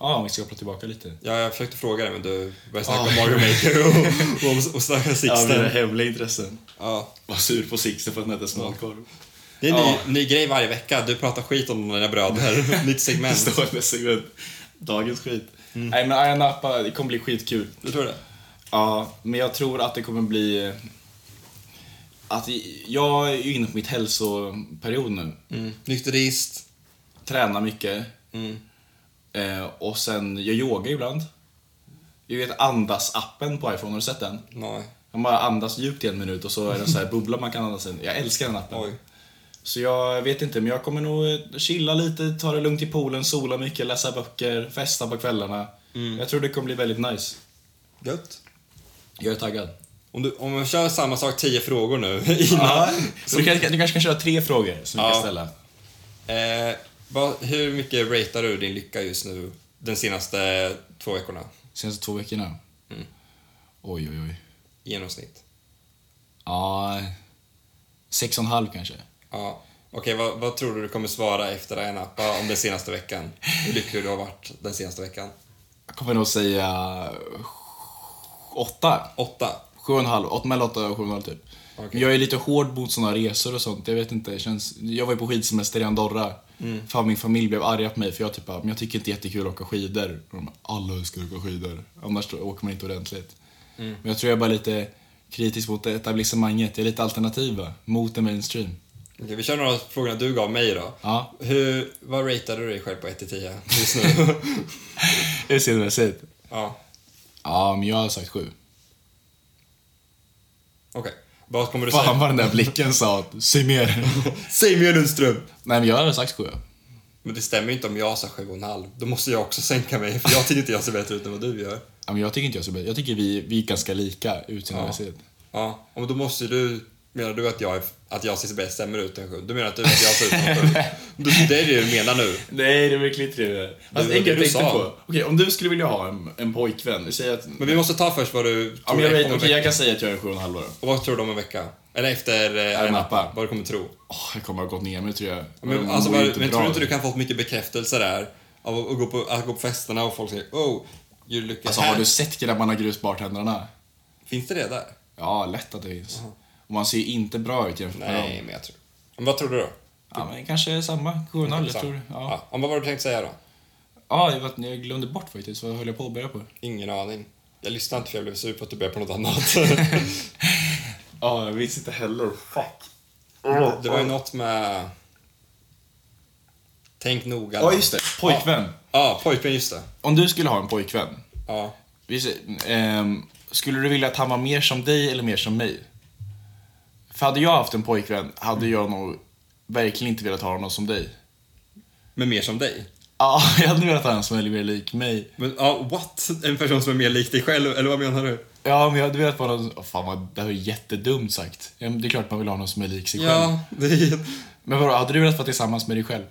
[SPEAKER 3] Ja, om vi ska koppla tillbaka lite.
[SPEAKER 4] Ja, jag försökte fråga dig men du började snacka
[SPEAKER 3] Ja.
[SPEAKER 4] om Mario Maker och, och, och snacka
[SPEAKER 3] Ja, mina
[SPEAKER 4] Sixten.
[SPEAKER 3] hemliga intressen.
[SPEAKER 4] Ja.
[SPEAKER 3] Var sur på Sixten för att han äter smalkorv.
[SPEAKER 4] Det är en
[SPEAKER 3] Ja.
[SPEAKER 4] ny, ny grej varje vecka, du pratar skit om dina bröder. Nytt
[SPEAKER 3] Det
[SPEAKER 4] segment.
[SPEAKER 3] står nästa segment. Dagens skit. Nej men Ayia Napa, det kommer bli skitkul.
[SPEAKER 4] Du tror det?
[SPEAKER 3] Ja, men jag tror att det kommer bli... eh, Att i- jag är ju inne på mitt hälsoperiod nu.
[SPEAKER 4] Mm. Nykterist.
[SPEAKER 3] Tränar mycket.
[SPEAKER 4] Mm.
[SPEAKER 3] Eh, och sen, jag yogar ibland. Jag vet andas-appen på iPhone, har du sett den?
[SPEAKER 4] Nej.
[SPEAKER 3] Man bara andas djupt i en minut och så är det så här bubbla man kan andas in. Jag älskar den appen.
[SPEAKER 4] Oj.
[SPEAKER 3] Så jag vet inte, men jag kommer nog eh, chilla lite, ta det lugnt i poolen, sola mycket, läsa böcker, festa på kvällarna. Jag tror det kommer bli väldigt nice.
[SPEAKER 4] Gött.
[SPEAKER 3] Jag är taggad.
[SPEAKER 4] Om, du, om vi kör samma sak, tio frågor nu innan.
[SPEAKER 3] Så du, kan, du kanske kan köra tre frågor som vi
[SPEAKER 4] Ja.
[SPEAKER 3] kan ställa?
[SPEAKER 4] Eh, vad, hur mycket ratear du din lycka just nu? Den senaste två veckorna?
[SPEAKER 3] Senaste två veckorna? Mm. Oj, oj, oj.
[SPEAKER 4] I genomsnitt.
[SPEAKER 3] Ja, sex och en halv kanske.
[SPEAKER 4] Ja. Okej, vad, vad tror du du kommer svara efter en appa om den senaste veckan? Hur lycklig du har varit den senaste veckan?
[SPEAKER 3] Jag kommer nog säga åtta.
[SPEAKER 4] Åtta?
[SPEAKER 3] Sju och en halv, åt- mellan åtta och sju och en halv typ.
[SPEAKER 4] Okej.
[SPEAKER 3] Men Jag är lite hård mot såna resor och sånt. Jag vet inte, det känns... Jag var ju på skidsemester i Andorra. Fan, min familj blev arga på mig för jag typ bara, men jag tycker inte det är jättekul att åka skidor. Och de bara, alla älskar att åka skidor. Annars då åker man inte ordentligt. Men jag tror jag är bara lite kritisk mot etablissemanget. Jag är lite alternativa mot the mainstream.
[SPEAKER 4] Okej, vi kör några av frågorna du gav mig då.
[SPEAKER 3] Ja.
[SPEAKER 4] Hur, vad ratear du dig själv på 1 till 10 just nu?
[SPEAKER 3] Utseendemässigt.
[SPEAKER 4] ja,
[SPEAKER 3] Ja, men jag har sagt sju.
[SPEAKER 4] okej. Vad kommer du
[SPEAKER 3] Fan
[SPEAKER 4] säga?
[SPEAKER 3] vad den där blicken sa. Säg mer.
[SPEAKER 4] Säg mer Lundström!
[SPEAKER 3] Nej, men jag hade sagt sju.
[SPEAKER 4] Men det stämmer ju inte om jag sa 7,5. Då måste jag också sänka mig, för jag tycker inte jag ser bättre ut än vad du gör.
[SPEAKER 3] Ja, men jag tycker inte jag är så bra. Jag tycker vi, vi är ganska lika utseendemässigt.
[SPEAKER 4] Ja, men då måste du... Menar du att jag, är- att jag ser bäst sämre ut än 7? Du menar att du att jag ser ut som 7? Du- Det är det du menar nu.
[SPEAKER 3] Nej, det blir klittrigare. Alltså,
[SPEAKER 4] Det var
[SPEAKER 3] en
[SPEAKER 4] det
[SPEAKER 3] grej jag
[SPEAKER 4] du
[SPEAKER 3] tänkte
[SPEAKER 4] sa.
[SPEAKER 3] på. Okej, om du skulle vilja ha en, en pojkvän, säg att...
[SPEAKER 4] Men vi måste ta först vad du
[SPEAKER 3] ja,
[SPEAKER 4] tror
[SPEAKER 3] men jag, vet,
[SPEAKER 4] om en
[SPEAKER 3] okej, jag
[SPEAKER 4] vecka.
[SPEAKER 3] kan säga att jag är en sju och en halv då.
[SPEAKER 4] Och vad tror du om en vecka? Eller efter eh,
[SPEAKER 3] en
[SPEAKER 4] en
[SPEAKER 3] appa.
[SPEAKER 4] appa. Vad du kommer tro.
[SPEAKER 3] Åh, jag kommer att ha gått ner mig tror jag. Jag
[SPEAKER 4] Men,
[SPEAKER 3] mår
[SPEAKER 4] alltså, vad,
[SPEAKER 3] inte
[SPEAKER 4] men
[SPEAKER 3] bra.
[SPEAKER 4] tror du inte du kan få mycket bekräftelse där? Av att, att, gå på, att gå på festerna och folk säger oh, you look
[SPEAKER 3] Alltså,
[SPEAKER 4] at
[SPEAKER 3] har
[SPEAKER 4] här."
[SPEAKER 3] du sett grabbarna grusbartändarna?
[SPEAKER 4] Finns det det där?
[SPEAKER 3] Ja, lätt att det finns. Och man ser ju inte bra ut jämfört med
[SPEAKER 4] Nej,
[SPEAKER 3] dem.
[SPEAKER 4] men jag tror... Men vad tror du då?
[SPEAKER 3] Ja, men kanske samma. Sju och en halv, jag tror Ja,
[SPEAKER 4] Ja, Om vad var du tänkt säga då?
[SPEAKER 3] ja jag, vet, inte, jag glömde bort faktiskt. Vad höll jag på att börja på?
[SPEAKER 4] Ingen aning. Jag lyssnade inte för jag blev sur på att du började på något annat.
[SPEAKER 3] Ja, jag visste inte heller. Fuck.
[SPEAKER 4] det var ju något med... Tänk noga.
[SPEAKER 3] Ja, just det. Pojkvän.
[SPEAKER 4] Ja, pojkvän, just det.
[SPEAKER 3] Om du skulle ha en pojkvän,
[SPEAKER 4] Ja.
[SPEAKER 3] Vi se- ehm, skulle du vilja att han var mer som dig eller mer som mig? För hade jag haft en pojkvän hade jag nog verkligen inte velat ha honom som dig.
[SPEAKER 4] Men mer som dig.
[SPEAKER 3] Ja, jag hade velat ha en som är mer lik mig.
[SPEAKER 4] Men ja, what? En person som är mer lik dig själv, eller vad menar du?
[SPEAKER 3] Ja, men jag hade velat vara någon... Oh, fan, vad, det här var ju jättedumt sagt. Ja, men Det är klart man vill ha någon som är lik sig själv.
[SPEAKER 4] Ja, det är...
[SPEAKER 3] Men vadå, hade du velat vara tillsammans med dig själv?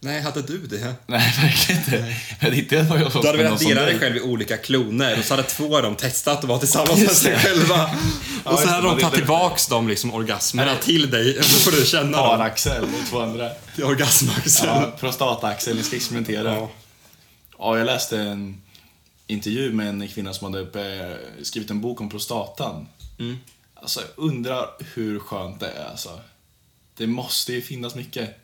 [SPEAKER 4] Nej, hade du det?
[SPEAKER 3] Nej, verkligen inte. Jag hade inte velat vara jag som
[SPEAKER 4] Du hade
[SPEAKER 3] med
[SPEAKER 4] velat
[SPEAKER 3] någon som
[SPEAKER 4] dela dig
[SPEAKER 3] dig.
[SPEAKER 4] själv i olika kloner och så hade två av dem testat att vara tillsammans med sig själva. Och
[SPEAKER 3] just
[SPEAKER 4] sen
[SPEAKER 3] det, man
[SPEAKER 4] hade de tagit
[SPEAKER 3] delar-
[SPEAKER 4] tillbaks de liksom orgasmerna till dig. Då får du känna dem.
[SPEAKER 3] Paraxel och två andra.
[SPEAKER 4] Det är Orgasmaxel.
[SPEAKER 3] Ja, prostataaxel, ni ska experimentera. Ja. jag läste en intervju med en kvinna som hade eh, skrivit en bok om prostatan. Mm. Alltså, jag undrar hur skönt det är alltså. Det måste ju finnas mycket.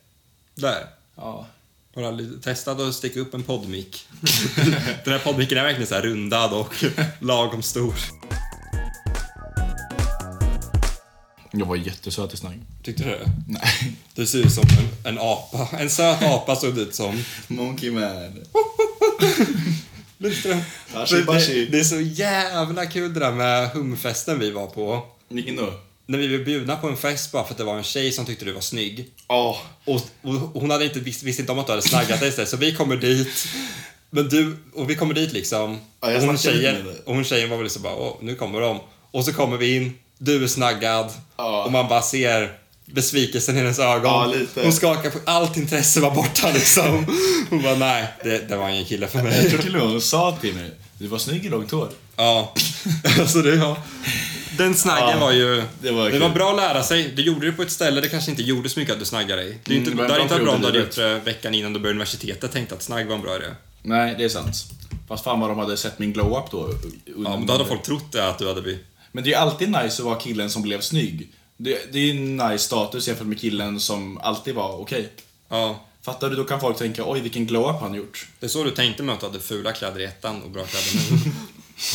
[SPEAKER 4] Där.
[SPEAKER 3] Ja.
[SPEAKER 4] Har du aldrig testat att sticka upp en poddmick? Den här poddmicken är verkligen så här rundad och lagom stor.
[SPEAKER 3] Jag var jättesöt i snagg.
[SPEAKER 4] Tyckte du det?
[SPEAKER 3] Nej.
[SPEAKER 4] Du ser ut som en, en apa. En söt apa såg du ut som.
[SPEAKER 3] Monkey man.
[SPEAKER 4] Lindström.
[SPEAKER 3] Hashi
[SPEAKER 4] Det-
[SPEAKER 3] bashi.
[SPEAKER 4] Det, det är så jävla kul det där med humfesten vi var på.
[SPEAKER 3] Vilken då?
[SPEAKER 4] När vi blev bjudna på en fest bara för att det var en tjej som tyckte du var snygg.
[SPEAKER 3] Ja.
[SPEAKER 4] Och, och hon hade inte visst, visste inte om att du hade snaggat dig så så vi kommer dit. Men du, och vi kommer dit liksom.
[SPEAKER 3] Ja, jag
[SPEAKER 4] och, hon
[SPEAKER 3] snackade lite
[SPEAKER 4] tjejen,
[SPEAKER 3] med dig.
[SPEAKER 4] och hon tjejen var väl liksom bara, Åh, nu kommer de. Och så kommer vi in, du är snaggad.
[SPEAKER 3] Ja.
[SPEAKER 4] Och man bara ser besvikelsen i hennes ögon.
[SPEAKER 3] Ja, lite.
[SPEAKER 4] Hon skakar på, allt intresse var borta liksom. Hon bara, nej, det, det var ingen kille för
[SPEAKER 3] Jag tror
[SPEAKER 4] mig.
[SPEAKER 3] till och med hon sa till mig, du var snygg i långt hår.
[SPEAKER 4] Ja, alltså det ja. Den snaggen
[SPEAKER 3] Ja,
[SPEAKER 4] var ju...
[SPEAKER 3] det var
[SPEAKER 4] det var
[SPEAKER 3] kul.
[SPEAKER 4] bra att lära sig. Du gjorde det på ett ställe det kanske inte gjorde så mycket att du snaggade dig. Det är ju inte,
[SPEAKER 3] Mm, det var en
[SPEAKER 4] det hade
[SPEAKER 3] bra
[SPEAKER 4] inte varit bra om
[SPEAKER 3] period
[SPEAKER 4] du
[SPEAKER 3] i
[SPEAKER 4] hade gjort det veckan innan du började universitetet tänkte att snagg var en bra idé.
[SPEAKER 3] Nej, det är sant. Fast fan vad de hade sett min glow-up då.
[SPEAKER 4] Ja, men då
[SPEAKER 3] Mm.
[SPEAKER 4] hade folk trott det att du hade blivit...
[SPEAKER 3] Men det är ju alltid nice att vara killen som blev snygg. Det, det är ju en nice status jämfört med killen som alltid var okej.
[SPEAKER 4] Ja.
[SPEAKER 3] Fattar du? Då kan folk tänka oj vilken glow-up han gjort.
[SPEAKER 4] Det är så du tänkte med att du hade fula kläder i ettan och bra kläder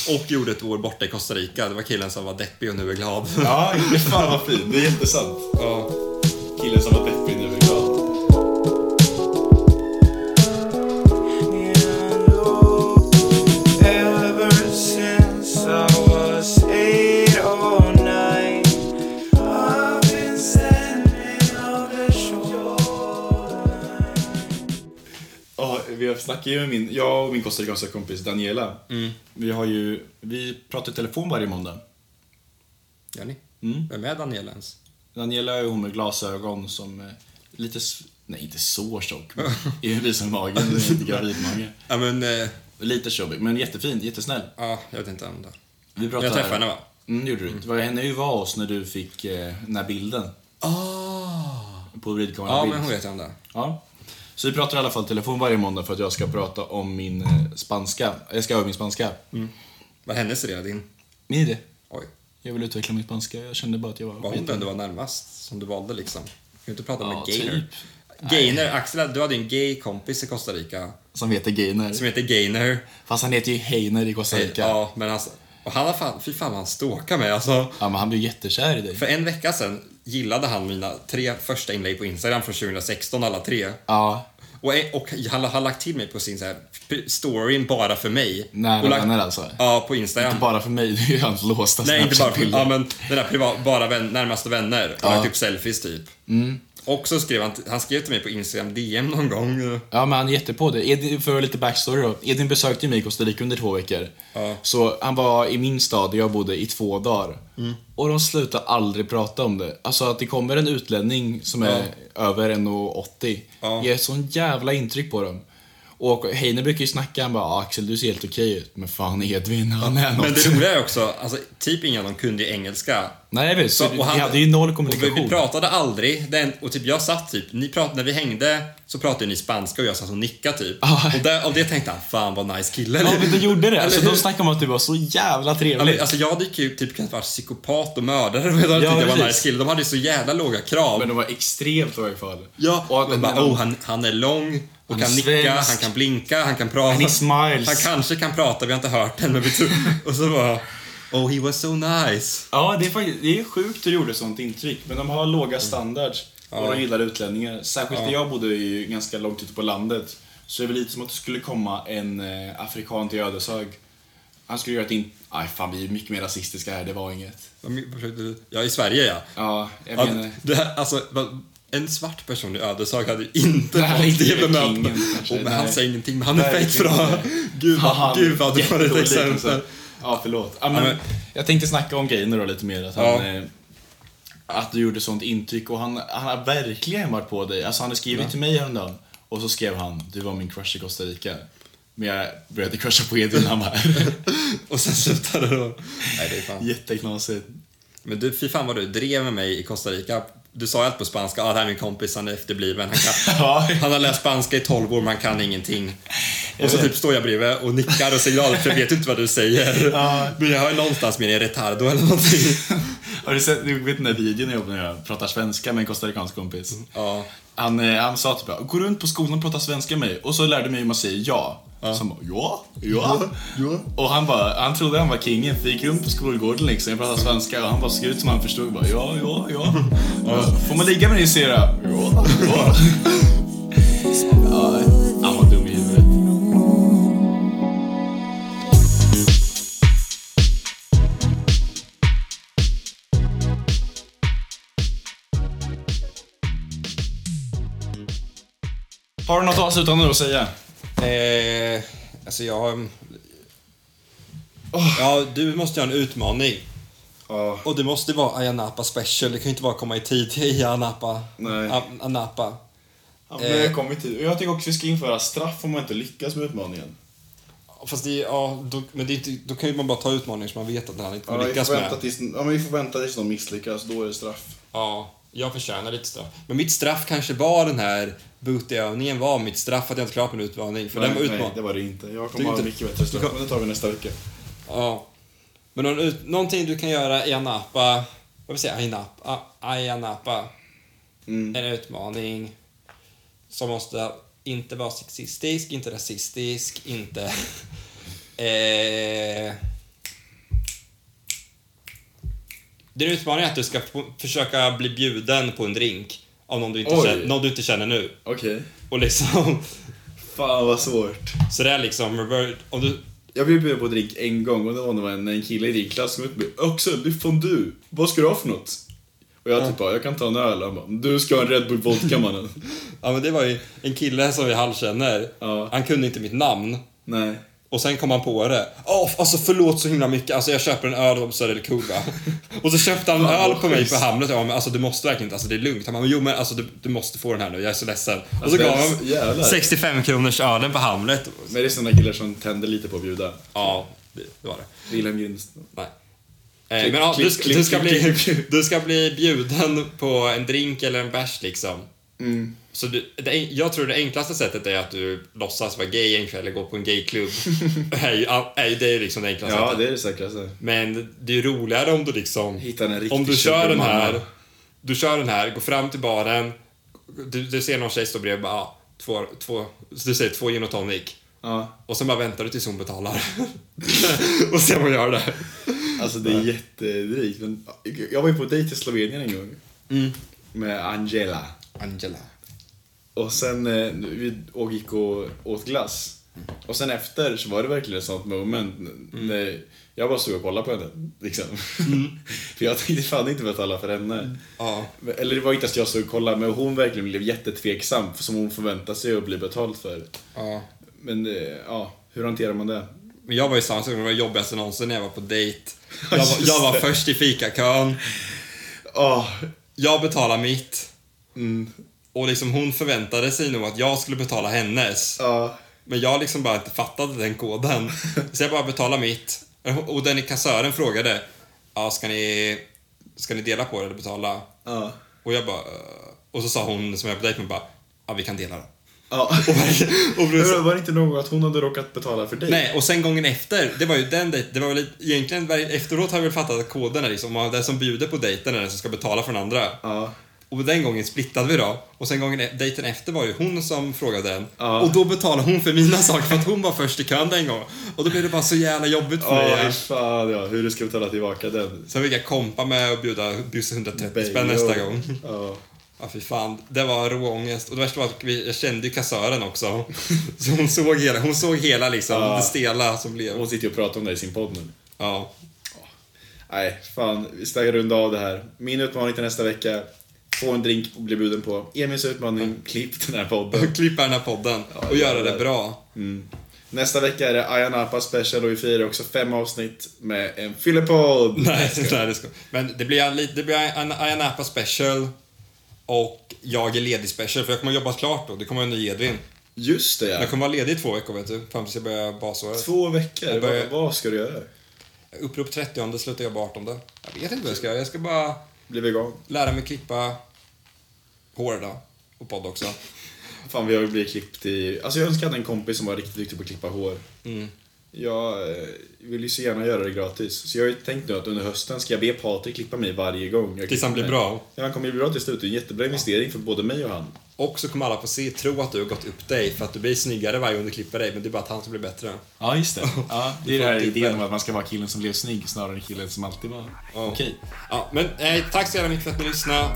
[SPEAKER 4] nu. Och gjorde ett år borta i Costa Rica. Det var killen som var deppig och nu är glad.
[SPEAKER 3] Ja, det är fan vad fint. Det är jättesant.
[SPEAKER 4] Ja.
[SPEAKER 3] Killen som var deppig nu liksom. är glad.
[SPEAKER 2] Ever since I was eight or nine, I've been standing on the shoreline.
[SPEAKER 3] Ja, vi snackar ju med min, jag och min costa kompis Daniela. Vi har ju, vi pratar i telefon varje måndag.
[SPEAKER 4] Gör ni?
[SPEAKER 3] Mm.
[SPEAKER 4] Vem är Daniel ens?
[SPEAKER 3] Daniela är hon med glasögon som eh, lite, s- nej inte så tjock, men är- visar magen, men inte gravidmage.
[SPEAKER 4] Ja men, eh,
[SPEAKER 3] Lite tjobbig, men jättefin, jättesnäll.
[SPEAKER 4] ja, jag vet inte om det.
[SPEAKER 3] Vi pratar...
[SPEAKER 4] Jag träffade henne va?
[SPEAKER 3] Mm, det gjorde du. Det var henne ju var oss när du fick eh, den här bilden
[SPEAKER 4] Ah.
[SPEAKER 3] på ridkameran.
[SPEAKER 4] Ja
[SPEAKER 3] bild.
[SPEAKER 4] men hon vet jag om det.
[SPEAKER 3] Ja. Så vi pratar i alla fall telefon varje måndag för att jag ska prata om min eh, spanska. Jag ska öva min spanska.
[SPEAKER 4] Mm. Var hennes idé din?
[SPEAKER 3] Min idé.
[SPEAKER 4] Oj.
[SPEAKER 3] Jag vill utveckla min spanska. Jag kände bara att jag var,
[SPEAKER 4] Var hon
[SPEAKER 3] skiten.
[SPEAKER 4] den du var närmast? Som du valde liksom? Kan du inte prata
[SPEAKER 3] Ja,
[SPEAKER 4] med Gainer?
[SPEAKER 3] typ.
[SPEAKER 4] Gainer, Axel, du hade ju en gay kompis i Costa Rica
[SPEAKER 3] Som heter Gainer.
[SPEAKER 4] som heter Gainer.
[SPEAKER 3] Fast han heter ju Heiner i Costa Rica. Ja.
[SPEAKER 4] Ja, men alltså, och han har fan, fy fan vad han stalkar mig alltså.
[SPEAKER 3] men han blev jättekär i dig.
[SPEAKER 4] För en vecka sedan gillade han mina tre första inlägg på Instagram från 2016 alla tre.
[SPEAKER 3] Ja.
[SPEAKER 4] Och, och han har lagt till mig på sin så här, storyn bara för mig.
[SPEAKER 3] Nära
[SPEAKER 4] och lagt,
[SPEAKER 3] vänner alltså?
[SPEAKER 4] Ja, på Instagram.
[SPEAKER 3] Inte bara för mig, det är ju hans låsta
[SPEAKER 4] Nej, inte bara
[SPEAKER 3] Snapchat-bilder.
[SPEAKER 4] ja, men den där privat, bara vän, närmaste vänner. Och
[SPEAKER 3] Ja. Mm.
[SPEAKER 4] lagt upp selfies typ. Och så skrev han, han skrev till mig på Instagram DM någon gång.
[SPEAKER 3] Ja, men han är jättepå det. Edin, för lite backstory då. Edin besökte ju mig i Costa Rica under två veckor.
[SPEAKER 4] Ja.
[SPEAKER 3] Så han var i min stad där jag bodde i två dagar.
[SPEAKER 4] Mm.
[SPEAKER 3] Och de slutar aldrig prata om det. Alltså att det kommer en utlänning som är över 1,80
[SPEAKER 4] Ja.
[SPEAKER 3] ger sån jävla intryck på dem. Och Heine brukar ju snacka, han bara "Ah, Axel du ser helt okej ut, men fan Edvin han är något.
[SPEAKER 4] Men det roliga är också, alltså, typ ingen av dem kunde ju engelska.
[SPEAKER 3] Nej visst, så,
[SPEAKER 4] Så- och
[SPEAKER 3] vi
[SPEAKER 4] han-
[SPEAKER 3] hade ju noll
[SPEAKER 4] Och vi,
[SPEAKER 3] kommunikation.
[SPEAKER 4] vi pratade aldrig. Den, och typ jag satt typ, ni prat, när vi hängde så pratade ni spanska och jag satt och nickade typ.
[SPEAKER 3] Ja.
[SPEAKER 4] Och där, av det tänkte jag, fan vad nice kille.
[SPEAKER 3] Ja men du gjorde det,
[SPEAKER 4] Eller
[SPEAKER 3] alltså,
[SPEAKER 4] hur?
[SPEAKER 3] de snackade om att du var så jävla
[SPEAKER 4] Ja, men,
[SPEAKER 3] trevlig.
[SPEAKER 4] Alltså jag hade ju typ kunnat vara psykopat och mördare om jag hade
[SPEAKER 3] Ja,
[SPEAKER 4] tyckt jag var
[SPEAKER 3] precis.
[SPEAKER 4] nice kille. De hade ju så jävla låga krav.
[SPEAKER 3] Men de var extremt i varje fall.
[SPEAKER 4] Ja,
[SPEAKER 3] och
[SPEAKER 4] och
[SPEAKER 3] att,
[SPEAKER 4] bara, oh, han, han är lång och
[SPEAKER 3] Han
[SPEAKER 4] kan
[SPEAKER 3] är
[SPEAKER 4] nicka,
[SPEAKER 3] svensk.
[SPEAKER 4] han kan blinka, han kan prata.
[SPEAKER 3] And he smiles.
[SPEAKER 4] Han kanske kan prata, vi har inte hört den. Men vi tror. och så bara, oh he was so nice.
[SPEAKER 3] Ja, det är, faktiskt, det är sjukt hur du gjorde sånt intryck, men de har låga standards och de gillar utlänningar. Särskilt där jag bodde ju ganska långt ute på landet. Så det är väl lite som att det skulle komma en eh, afrikan till Ödeshög. Han skulle göra ett in... Aj, fan vi är mycket mer rasistiska här, det var inget.
[SPEAKER 4] Vad men- vad försökte du- Ja, i Sverige ja.
[SPEAKER 3] Ja, jag
[SPEAKER 4] ja
[SPEAKER 3] menar...
[SPEAKER 4] det här, alltså, vad- En svart person i Ödeshög hade ju inte
[SPEAKER 3] Nej,
[SPEAKER 4] fått
[SPEAKER 3] det
[SPEAKER 4] det
[SPEAKER 3] är
[SPEAKER 4] bemötandet.
[SPEAKER 3] kingen för sig,
[SPEAKER 4] Och men
[SPEAKER 3] nej.
[SPEAKER 4] han säger ingenting, men han är
[SPEAKER 3] Verkligen
[SPEAKER 4] fett bra.
[SPEAKER 3] inte.
[SPEAKER 4] Gud, vad-
[SPEAKER 3] Fan,
[SPEAKER 4] gud vad du var ett
[SPEAKER 3] jättedålig liksom.
[SPEAKER 4] exempel.
[SPEAKER 3] liknelse. Ja, förlåt. Ja, men,
[SPEAKER 4] Ja, men-
[SPEAKER 3] Jag tänkte snacka om Gaynor då lite mer. Att, han,
[SPEAKER 4] Ja.
[SPEAKER 3] eh, att du gjorde sånt intryck och han, han har verkligen varit på dig. Alltså, han har skrivit till mig häromdagen och så skrev han du var min crush i Costa Rica. Men jag började crusha på Edvin Hammar.
[SPEAKER 4] Och sen slutade det då. Nej, det är fan.
[SPEAKER 3] Jätteknasigt.
[SPEAKER 4] Men du, fy fan vad du drev med mig i Costa Rica. Du sa ju allt på spanska. Ah, det här är min kompis, han är efterbliven. Han, kan,
[SPEAKER 3] Ja.
[SPEAKER 4] han har läst spanska i 12 år, men han kan ingenting. Och så
[SPEAKER 3] vet.
[SPEAKER 4] typ står jag bredvid och nickar och säger glad, för jag vet inte vad du säger.
[SPEAKER 3] Ja.
[SPEAKER 4] Men jag har ju någonstans med en retardo eller någonting.
[SPEAKER 3] Har du sett, du vet den där videon jag gjorde när jag pratar svenska med en costaricansk kompis?
[SPEAKER 4] Ja.
[SPEAKER 3] Han, eh, han sa typ bara, gå runt på skolan och prata svenska med mig och så lärde mig hur man säger ja. Så han bara, ja, ja. Och han bara, han trodde han var kingen för jag gick runt på skolgården liksom, jag pratade svenska och han bara såg ut som han förstod bara, ja, ja, ja. ja. Får man ligga med dig syrra? Ja, ja. ja. Han var dum i huvudet. Har du något avslutande att säga?
[SPEAKER 4] Eh, alltså jag... Ja, du måste göra en utmaning.
[SPEAKER 3] Ja.
[SPEAKER 4] Och det måste vara Ayanapa special. Det kan ju inte bara komma i tid till Ayanapa.
[SPEAKER 3] Nej.
[SPEAKER 4] A- Anapa.
[SPEAKER 3] men jag kommer till. Och jag tycker också vi ska införa straff om man inte lyckas med utmaningen.
[SPEAKER 4] Fast det, är- ja, då, men det är inte, då kan ju man bara ta utmaningar som man vet att han inte kommer lyckas med.
[SPEAKER 3] tills, ja, men vi får vänta tills någon misslyckas, då är det straff.
[SPEAKER 4] Ja, jag förtjänar lite straff. Men mitt straff kanske var den här bootyövningen var mitt straff att jag inte klarade min utmaning. För den var utmaning.
[SPEAKER 3] det var det inte. Jag
[SPEAKER 4] Det är inte-
[SPEAKER 3] bättre straff, men det tar vi nästa vecka.
[SPEAKER 4] Ja. Men någon ut, någonting du kan göra i Anapa, vad vill säga, Ainapa, Ayanapa.
[SPEAKER 3] Mm.
[SPEAKER 4] En utmaning som måste inte vara sexistisk, inte rasistisk, inte... eh, Din utmaning är att du ska få- försöka bli bjuden på en drink av någon du inte,
[SPEAKER 3] Oj.
[SPEAKER 4] känner, någon du inte känner nu.
[SPEAKER 3] Okej.
[SPEAKER 4] Och liksom,
[SPEAKER 3] Fan vad svårt.
[SPEAKER 4] så det är liksom, revert- om du,
[SPEAKER 3] Jag blev bjuden på drink en gång och det var när en, en kille i din klass som utbjöd Axel, det är fondue. Vad ska du ha för något? Och jag typ bara, jag kan ta en öl. Han bara, du ska ha en Red Bull Vodka mannen.
[SPEAKER 4] Ja men det var ju en kille som vi halvkänner.
[SPEAKER 3] Ja.
[SPEAKER 4] Han kunde inte mitt namn.
[SPEAKER 3] Nej.
[SPEAKER 4] Och sen kom han på det. Åh, f- alltså förlåt så himla mycket. Alltså jag köper en öl på Södra Kuba. och så köpte han en
[SPEAKER 3] Fan, vad
[SPEAKER 4] öl på mig
[SPEAKER 3] schysst.
[SPEAKER 4] på Hamlet. Jag bara, men alltså du måste verkligen inte. Alltså det är lugnt. Han bara, men jo men alltså du, du måste få den här nu. Jag är så ledsen. Och så
[SPEAKER 3] men
[SPEAKER 4] gav han
[SPEAKER 3] jävlar.
[SPEAKER 4] 65 kronors ölen på Hamlet.
[SPEAKER 3] Men det är sådana killar som tänder lite på att bjuda.
[SPEAKER 4] Ja, det, det var det.
[SPEAKER 3] Wilhelm Grinst.
[SPEAKER 4] Nej. Eh,
[SPEAKER 3] Klick,
[SPEAKER 4] men ja, du,
[SPEAKER 3] klick,
[SPEAKER 4] ska-
[SPEAKER 3] klick,
[SPEAKER 4] du, ska
[SPEAKER 3] klick,
[SPEAKER 4] bli,
[SPEAKER 3] klick.
[SPEAKER 4] du ska bli bjuden på en drink eller en bärs liksom.
[SPEAKER 3] Mm.
[SPEAKER 4] Så du, det, en- jag tror det enklaste sättet är att du låtsas vara gay en kväll eller gå på en gayklubb. är ju, är ju, det är ju liksom det enklaste
[SPEAKER 3] Ja,
[SPEAKER 4] sättet.
[SPEAKER 3] det är det säkraste.
[SPEAKER 4] Men det är ju roligare om du liksom...
[SPEAKER 3] Hitta en riktig
[SPEAKER 4] Om du kör den
[SPEAKER 3] superman.
[SPEAKER 4] här, du kör den här, går fram till baren, du, du ser någon tjej stå bredvid och bara, ah, två, två, så du säger två gin och tonic.
[SPEAKER 3] Ja.
[SPEAKER 4] Och sen bara väntar du tills hon betalar. och ser vad hon gör där.
[SPEAKER 3] Alltså det är jättedrikt. Men jag var ju på dejt i Slovenien en gång.
[SPEAKER 4] Mm.
[SPEAKER 3] Med Angela.
[SPEAKER 4] Angela.
[SPEAKER 3] Och sen eh, vi och gick och åt glass. Och sen efter så var det verkligen ett sånt moment när jag bara stod och kollade på henne. Liksom. för jag tänkte fan inte betala för henne.
[SPEAKER 4] Ja.
[SPEAKER 3] Men- Eller det var inte att jag stod och kollade men hon verkligen blev jättetveksam för som hon förväntade sig att bli betalt för.
[SPEAKER 4] ja.
[SPEAKER 3] Men eh, ja, hur hanterar man det?
[SPEAKER 4] Men jag var i samma situation, det var det jobbigaste någonsin när jag var på dejt. Jag
[SPEAKER 3] Ja,
[SPEAKER 4] var,
[SPEAKER 3] just
[SPEAKER 4] jag var
[SPEAKER 3] det.
[SPEAKER 4] först i fikakön,
[SPEAKER 3] Ah,
[SPEAKER 4] jag betalade mitt.
[SPEAKER 3] mm,
[SPEAKER 4] Och liksom hon förväntade sig nog att jag skulle betala hennes.
[SPEAKER 3] ja.
[SPEAKER 4] Men jag liksom bara inte fattade den koden. Så jag bara betalade mitt. Och den i kassören frågade, ja ska ni, ska ni dela på det eller betala?
[SPEAKER 3] Ja.
[SPEAKER 4] Och jag bara, "Eh." och så sa hon som jag var på dejt med bara, ja vi kan dela då.
[SPEAKER 3] Ja.
[SPEAKER 4] Och blev så-
[SPEAKER 3] Men Var det inte något att hon hade råkat betala för dig?
[SPEAKER 4] Nej, och sen gången efter, det var ju den dejten, det var väl lite- egentligen, var- efteråt har jag väl fattat att koden är liksom, att den som bjuder på dejten är den som ska betala för den andra.
[SPEAKER 3] Ja.
[SPEAKER 4] Och den gången splittade vi då. Och sen gången, e- dejten efter var ju hon som frågade den.
[SPEAKER 3] Ja.
[SPEAKER 4] Och då betalade hon för mina saker för att hon var först i kön den gången. Och då blev det bara så jävla jobbigt för mig.
[SPEAKER 3] Åh, fan ja. Hur du ska betala tillbaka den.
[SPEAKER 4] Sen fick jag kompa med och bjuda, bjussa 130 spänn
[SPEAKER 3] Bejo.
[SPEAKER 4] nästa gång.
[SPEAKER 3] Ja.
[SPEAKER 4] Ja, fy fan. Det var råångest. Och det värsta var att vi, jag kände ju kassören också. Så hon såg hela, hon såg hela liksom,
[SPEAKER 3] Ja.
[SPEAKER 4] det stela som blev.
[SPEAKER 3] Hon sitter ju och pratar om det i sin podd nu.
[SPEAKER 4] Ja.
[SPEAKER 3] Nej, fan. Vi ska runda av det här. Min utmaning till nästa vecka. få en drink och bli bjuden på. Emils utmaning, klipp den här podden.
[SPEAKER 4] Och klippa den här podden och göra det bra.
[SPEAKER 3] Nästa vecka är det Ayanapa special och vi firar också fem avsnitt med en fyllepodd.
[SPEAKER 4] Nej, nej, det ska. Men det blir, en, lit- det blir en Ayia Napa special och jag är ledig special för jag kommer jobba klart då. Det kommer en ny Edvin.
[SPEAKER 3] Just det ja.
[SPEAKER 4] Jag kommer vara ledig i två veckor vet du, fram tills jag börjar basåret.
[SPEAKER 3] Två veckor,
[SPEAKER 4] Jag börjar-
[SPEAKER 3] vad, vad ska du göra?
[SPEAKER 4] Upprop 30, slutar jag på 18. Jag vet inte vad jag ska göra. Jag ska bara
[SPEAKER 3] Bli vegan?
[SPEAKER 4] lära mig klippa hår idag. Och podd också.
[SPEAKER 3] Fan vi har ju blivit klippt i... Alltså jag önskar att en kompis som var riktigt duktig på att klippa hår. Jag eh, vill ju så gärna göra det gratis. Så jag har ju tänkt nu att under hösten ska jag be Patrik klippa mig varje gång. Jag
[SPEAKER 4] Tills han blir
[SPEAKER 3] klipper mig.
[SPEAKER 4] bra.
[SPEAKER 3] Ja, han kommer bli bra till slut. Det är en jättebra investering för både mig och han.
[SPEAKER 4] Och så kommer alla få se, tro att du har gått upp dig för att du blir snyggare varje gång du klipper dig. Men det är bara att han som blir bättre.
[SPEAKER 3] Ja, just det. Ja, det är
[SPEAKER 4] får
[SPEAKER 3] den här
[SPEAKER 4] inte
[SPEAKER 3] idén
[SPEAKER 4] det.
[SPEAKER 3] om att man ska vara killen som blev snygg snarare än killen som alltid var
[SPEAKER 4] Ja.
[SPEAKER 3] okej.
[SPEAKER 4] Ja, men eh, tack så jävla mycket för att ni lyssnade.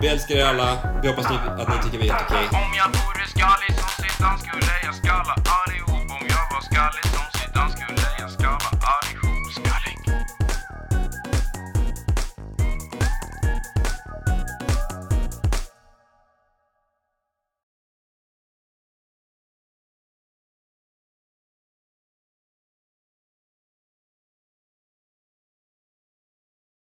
[SPEAKER 4] Vi älskar er alla. Vi hoppas ni, att ni tycker vi är helt okej.
[SPEAKER 8] Om jag vore skallig som Zidane skulle jag skalla allihop Om jag var skallig som Zidane skulle jag skalla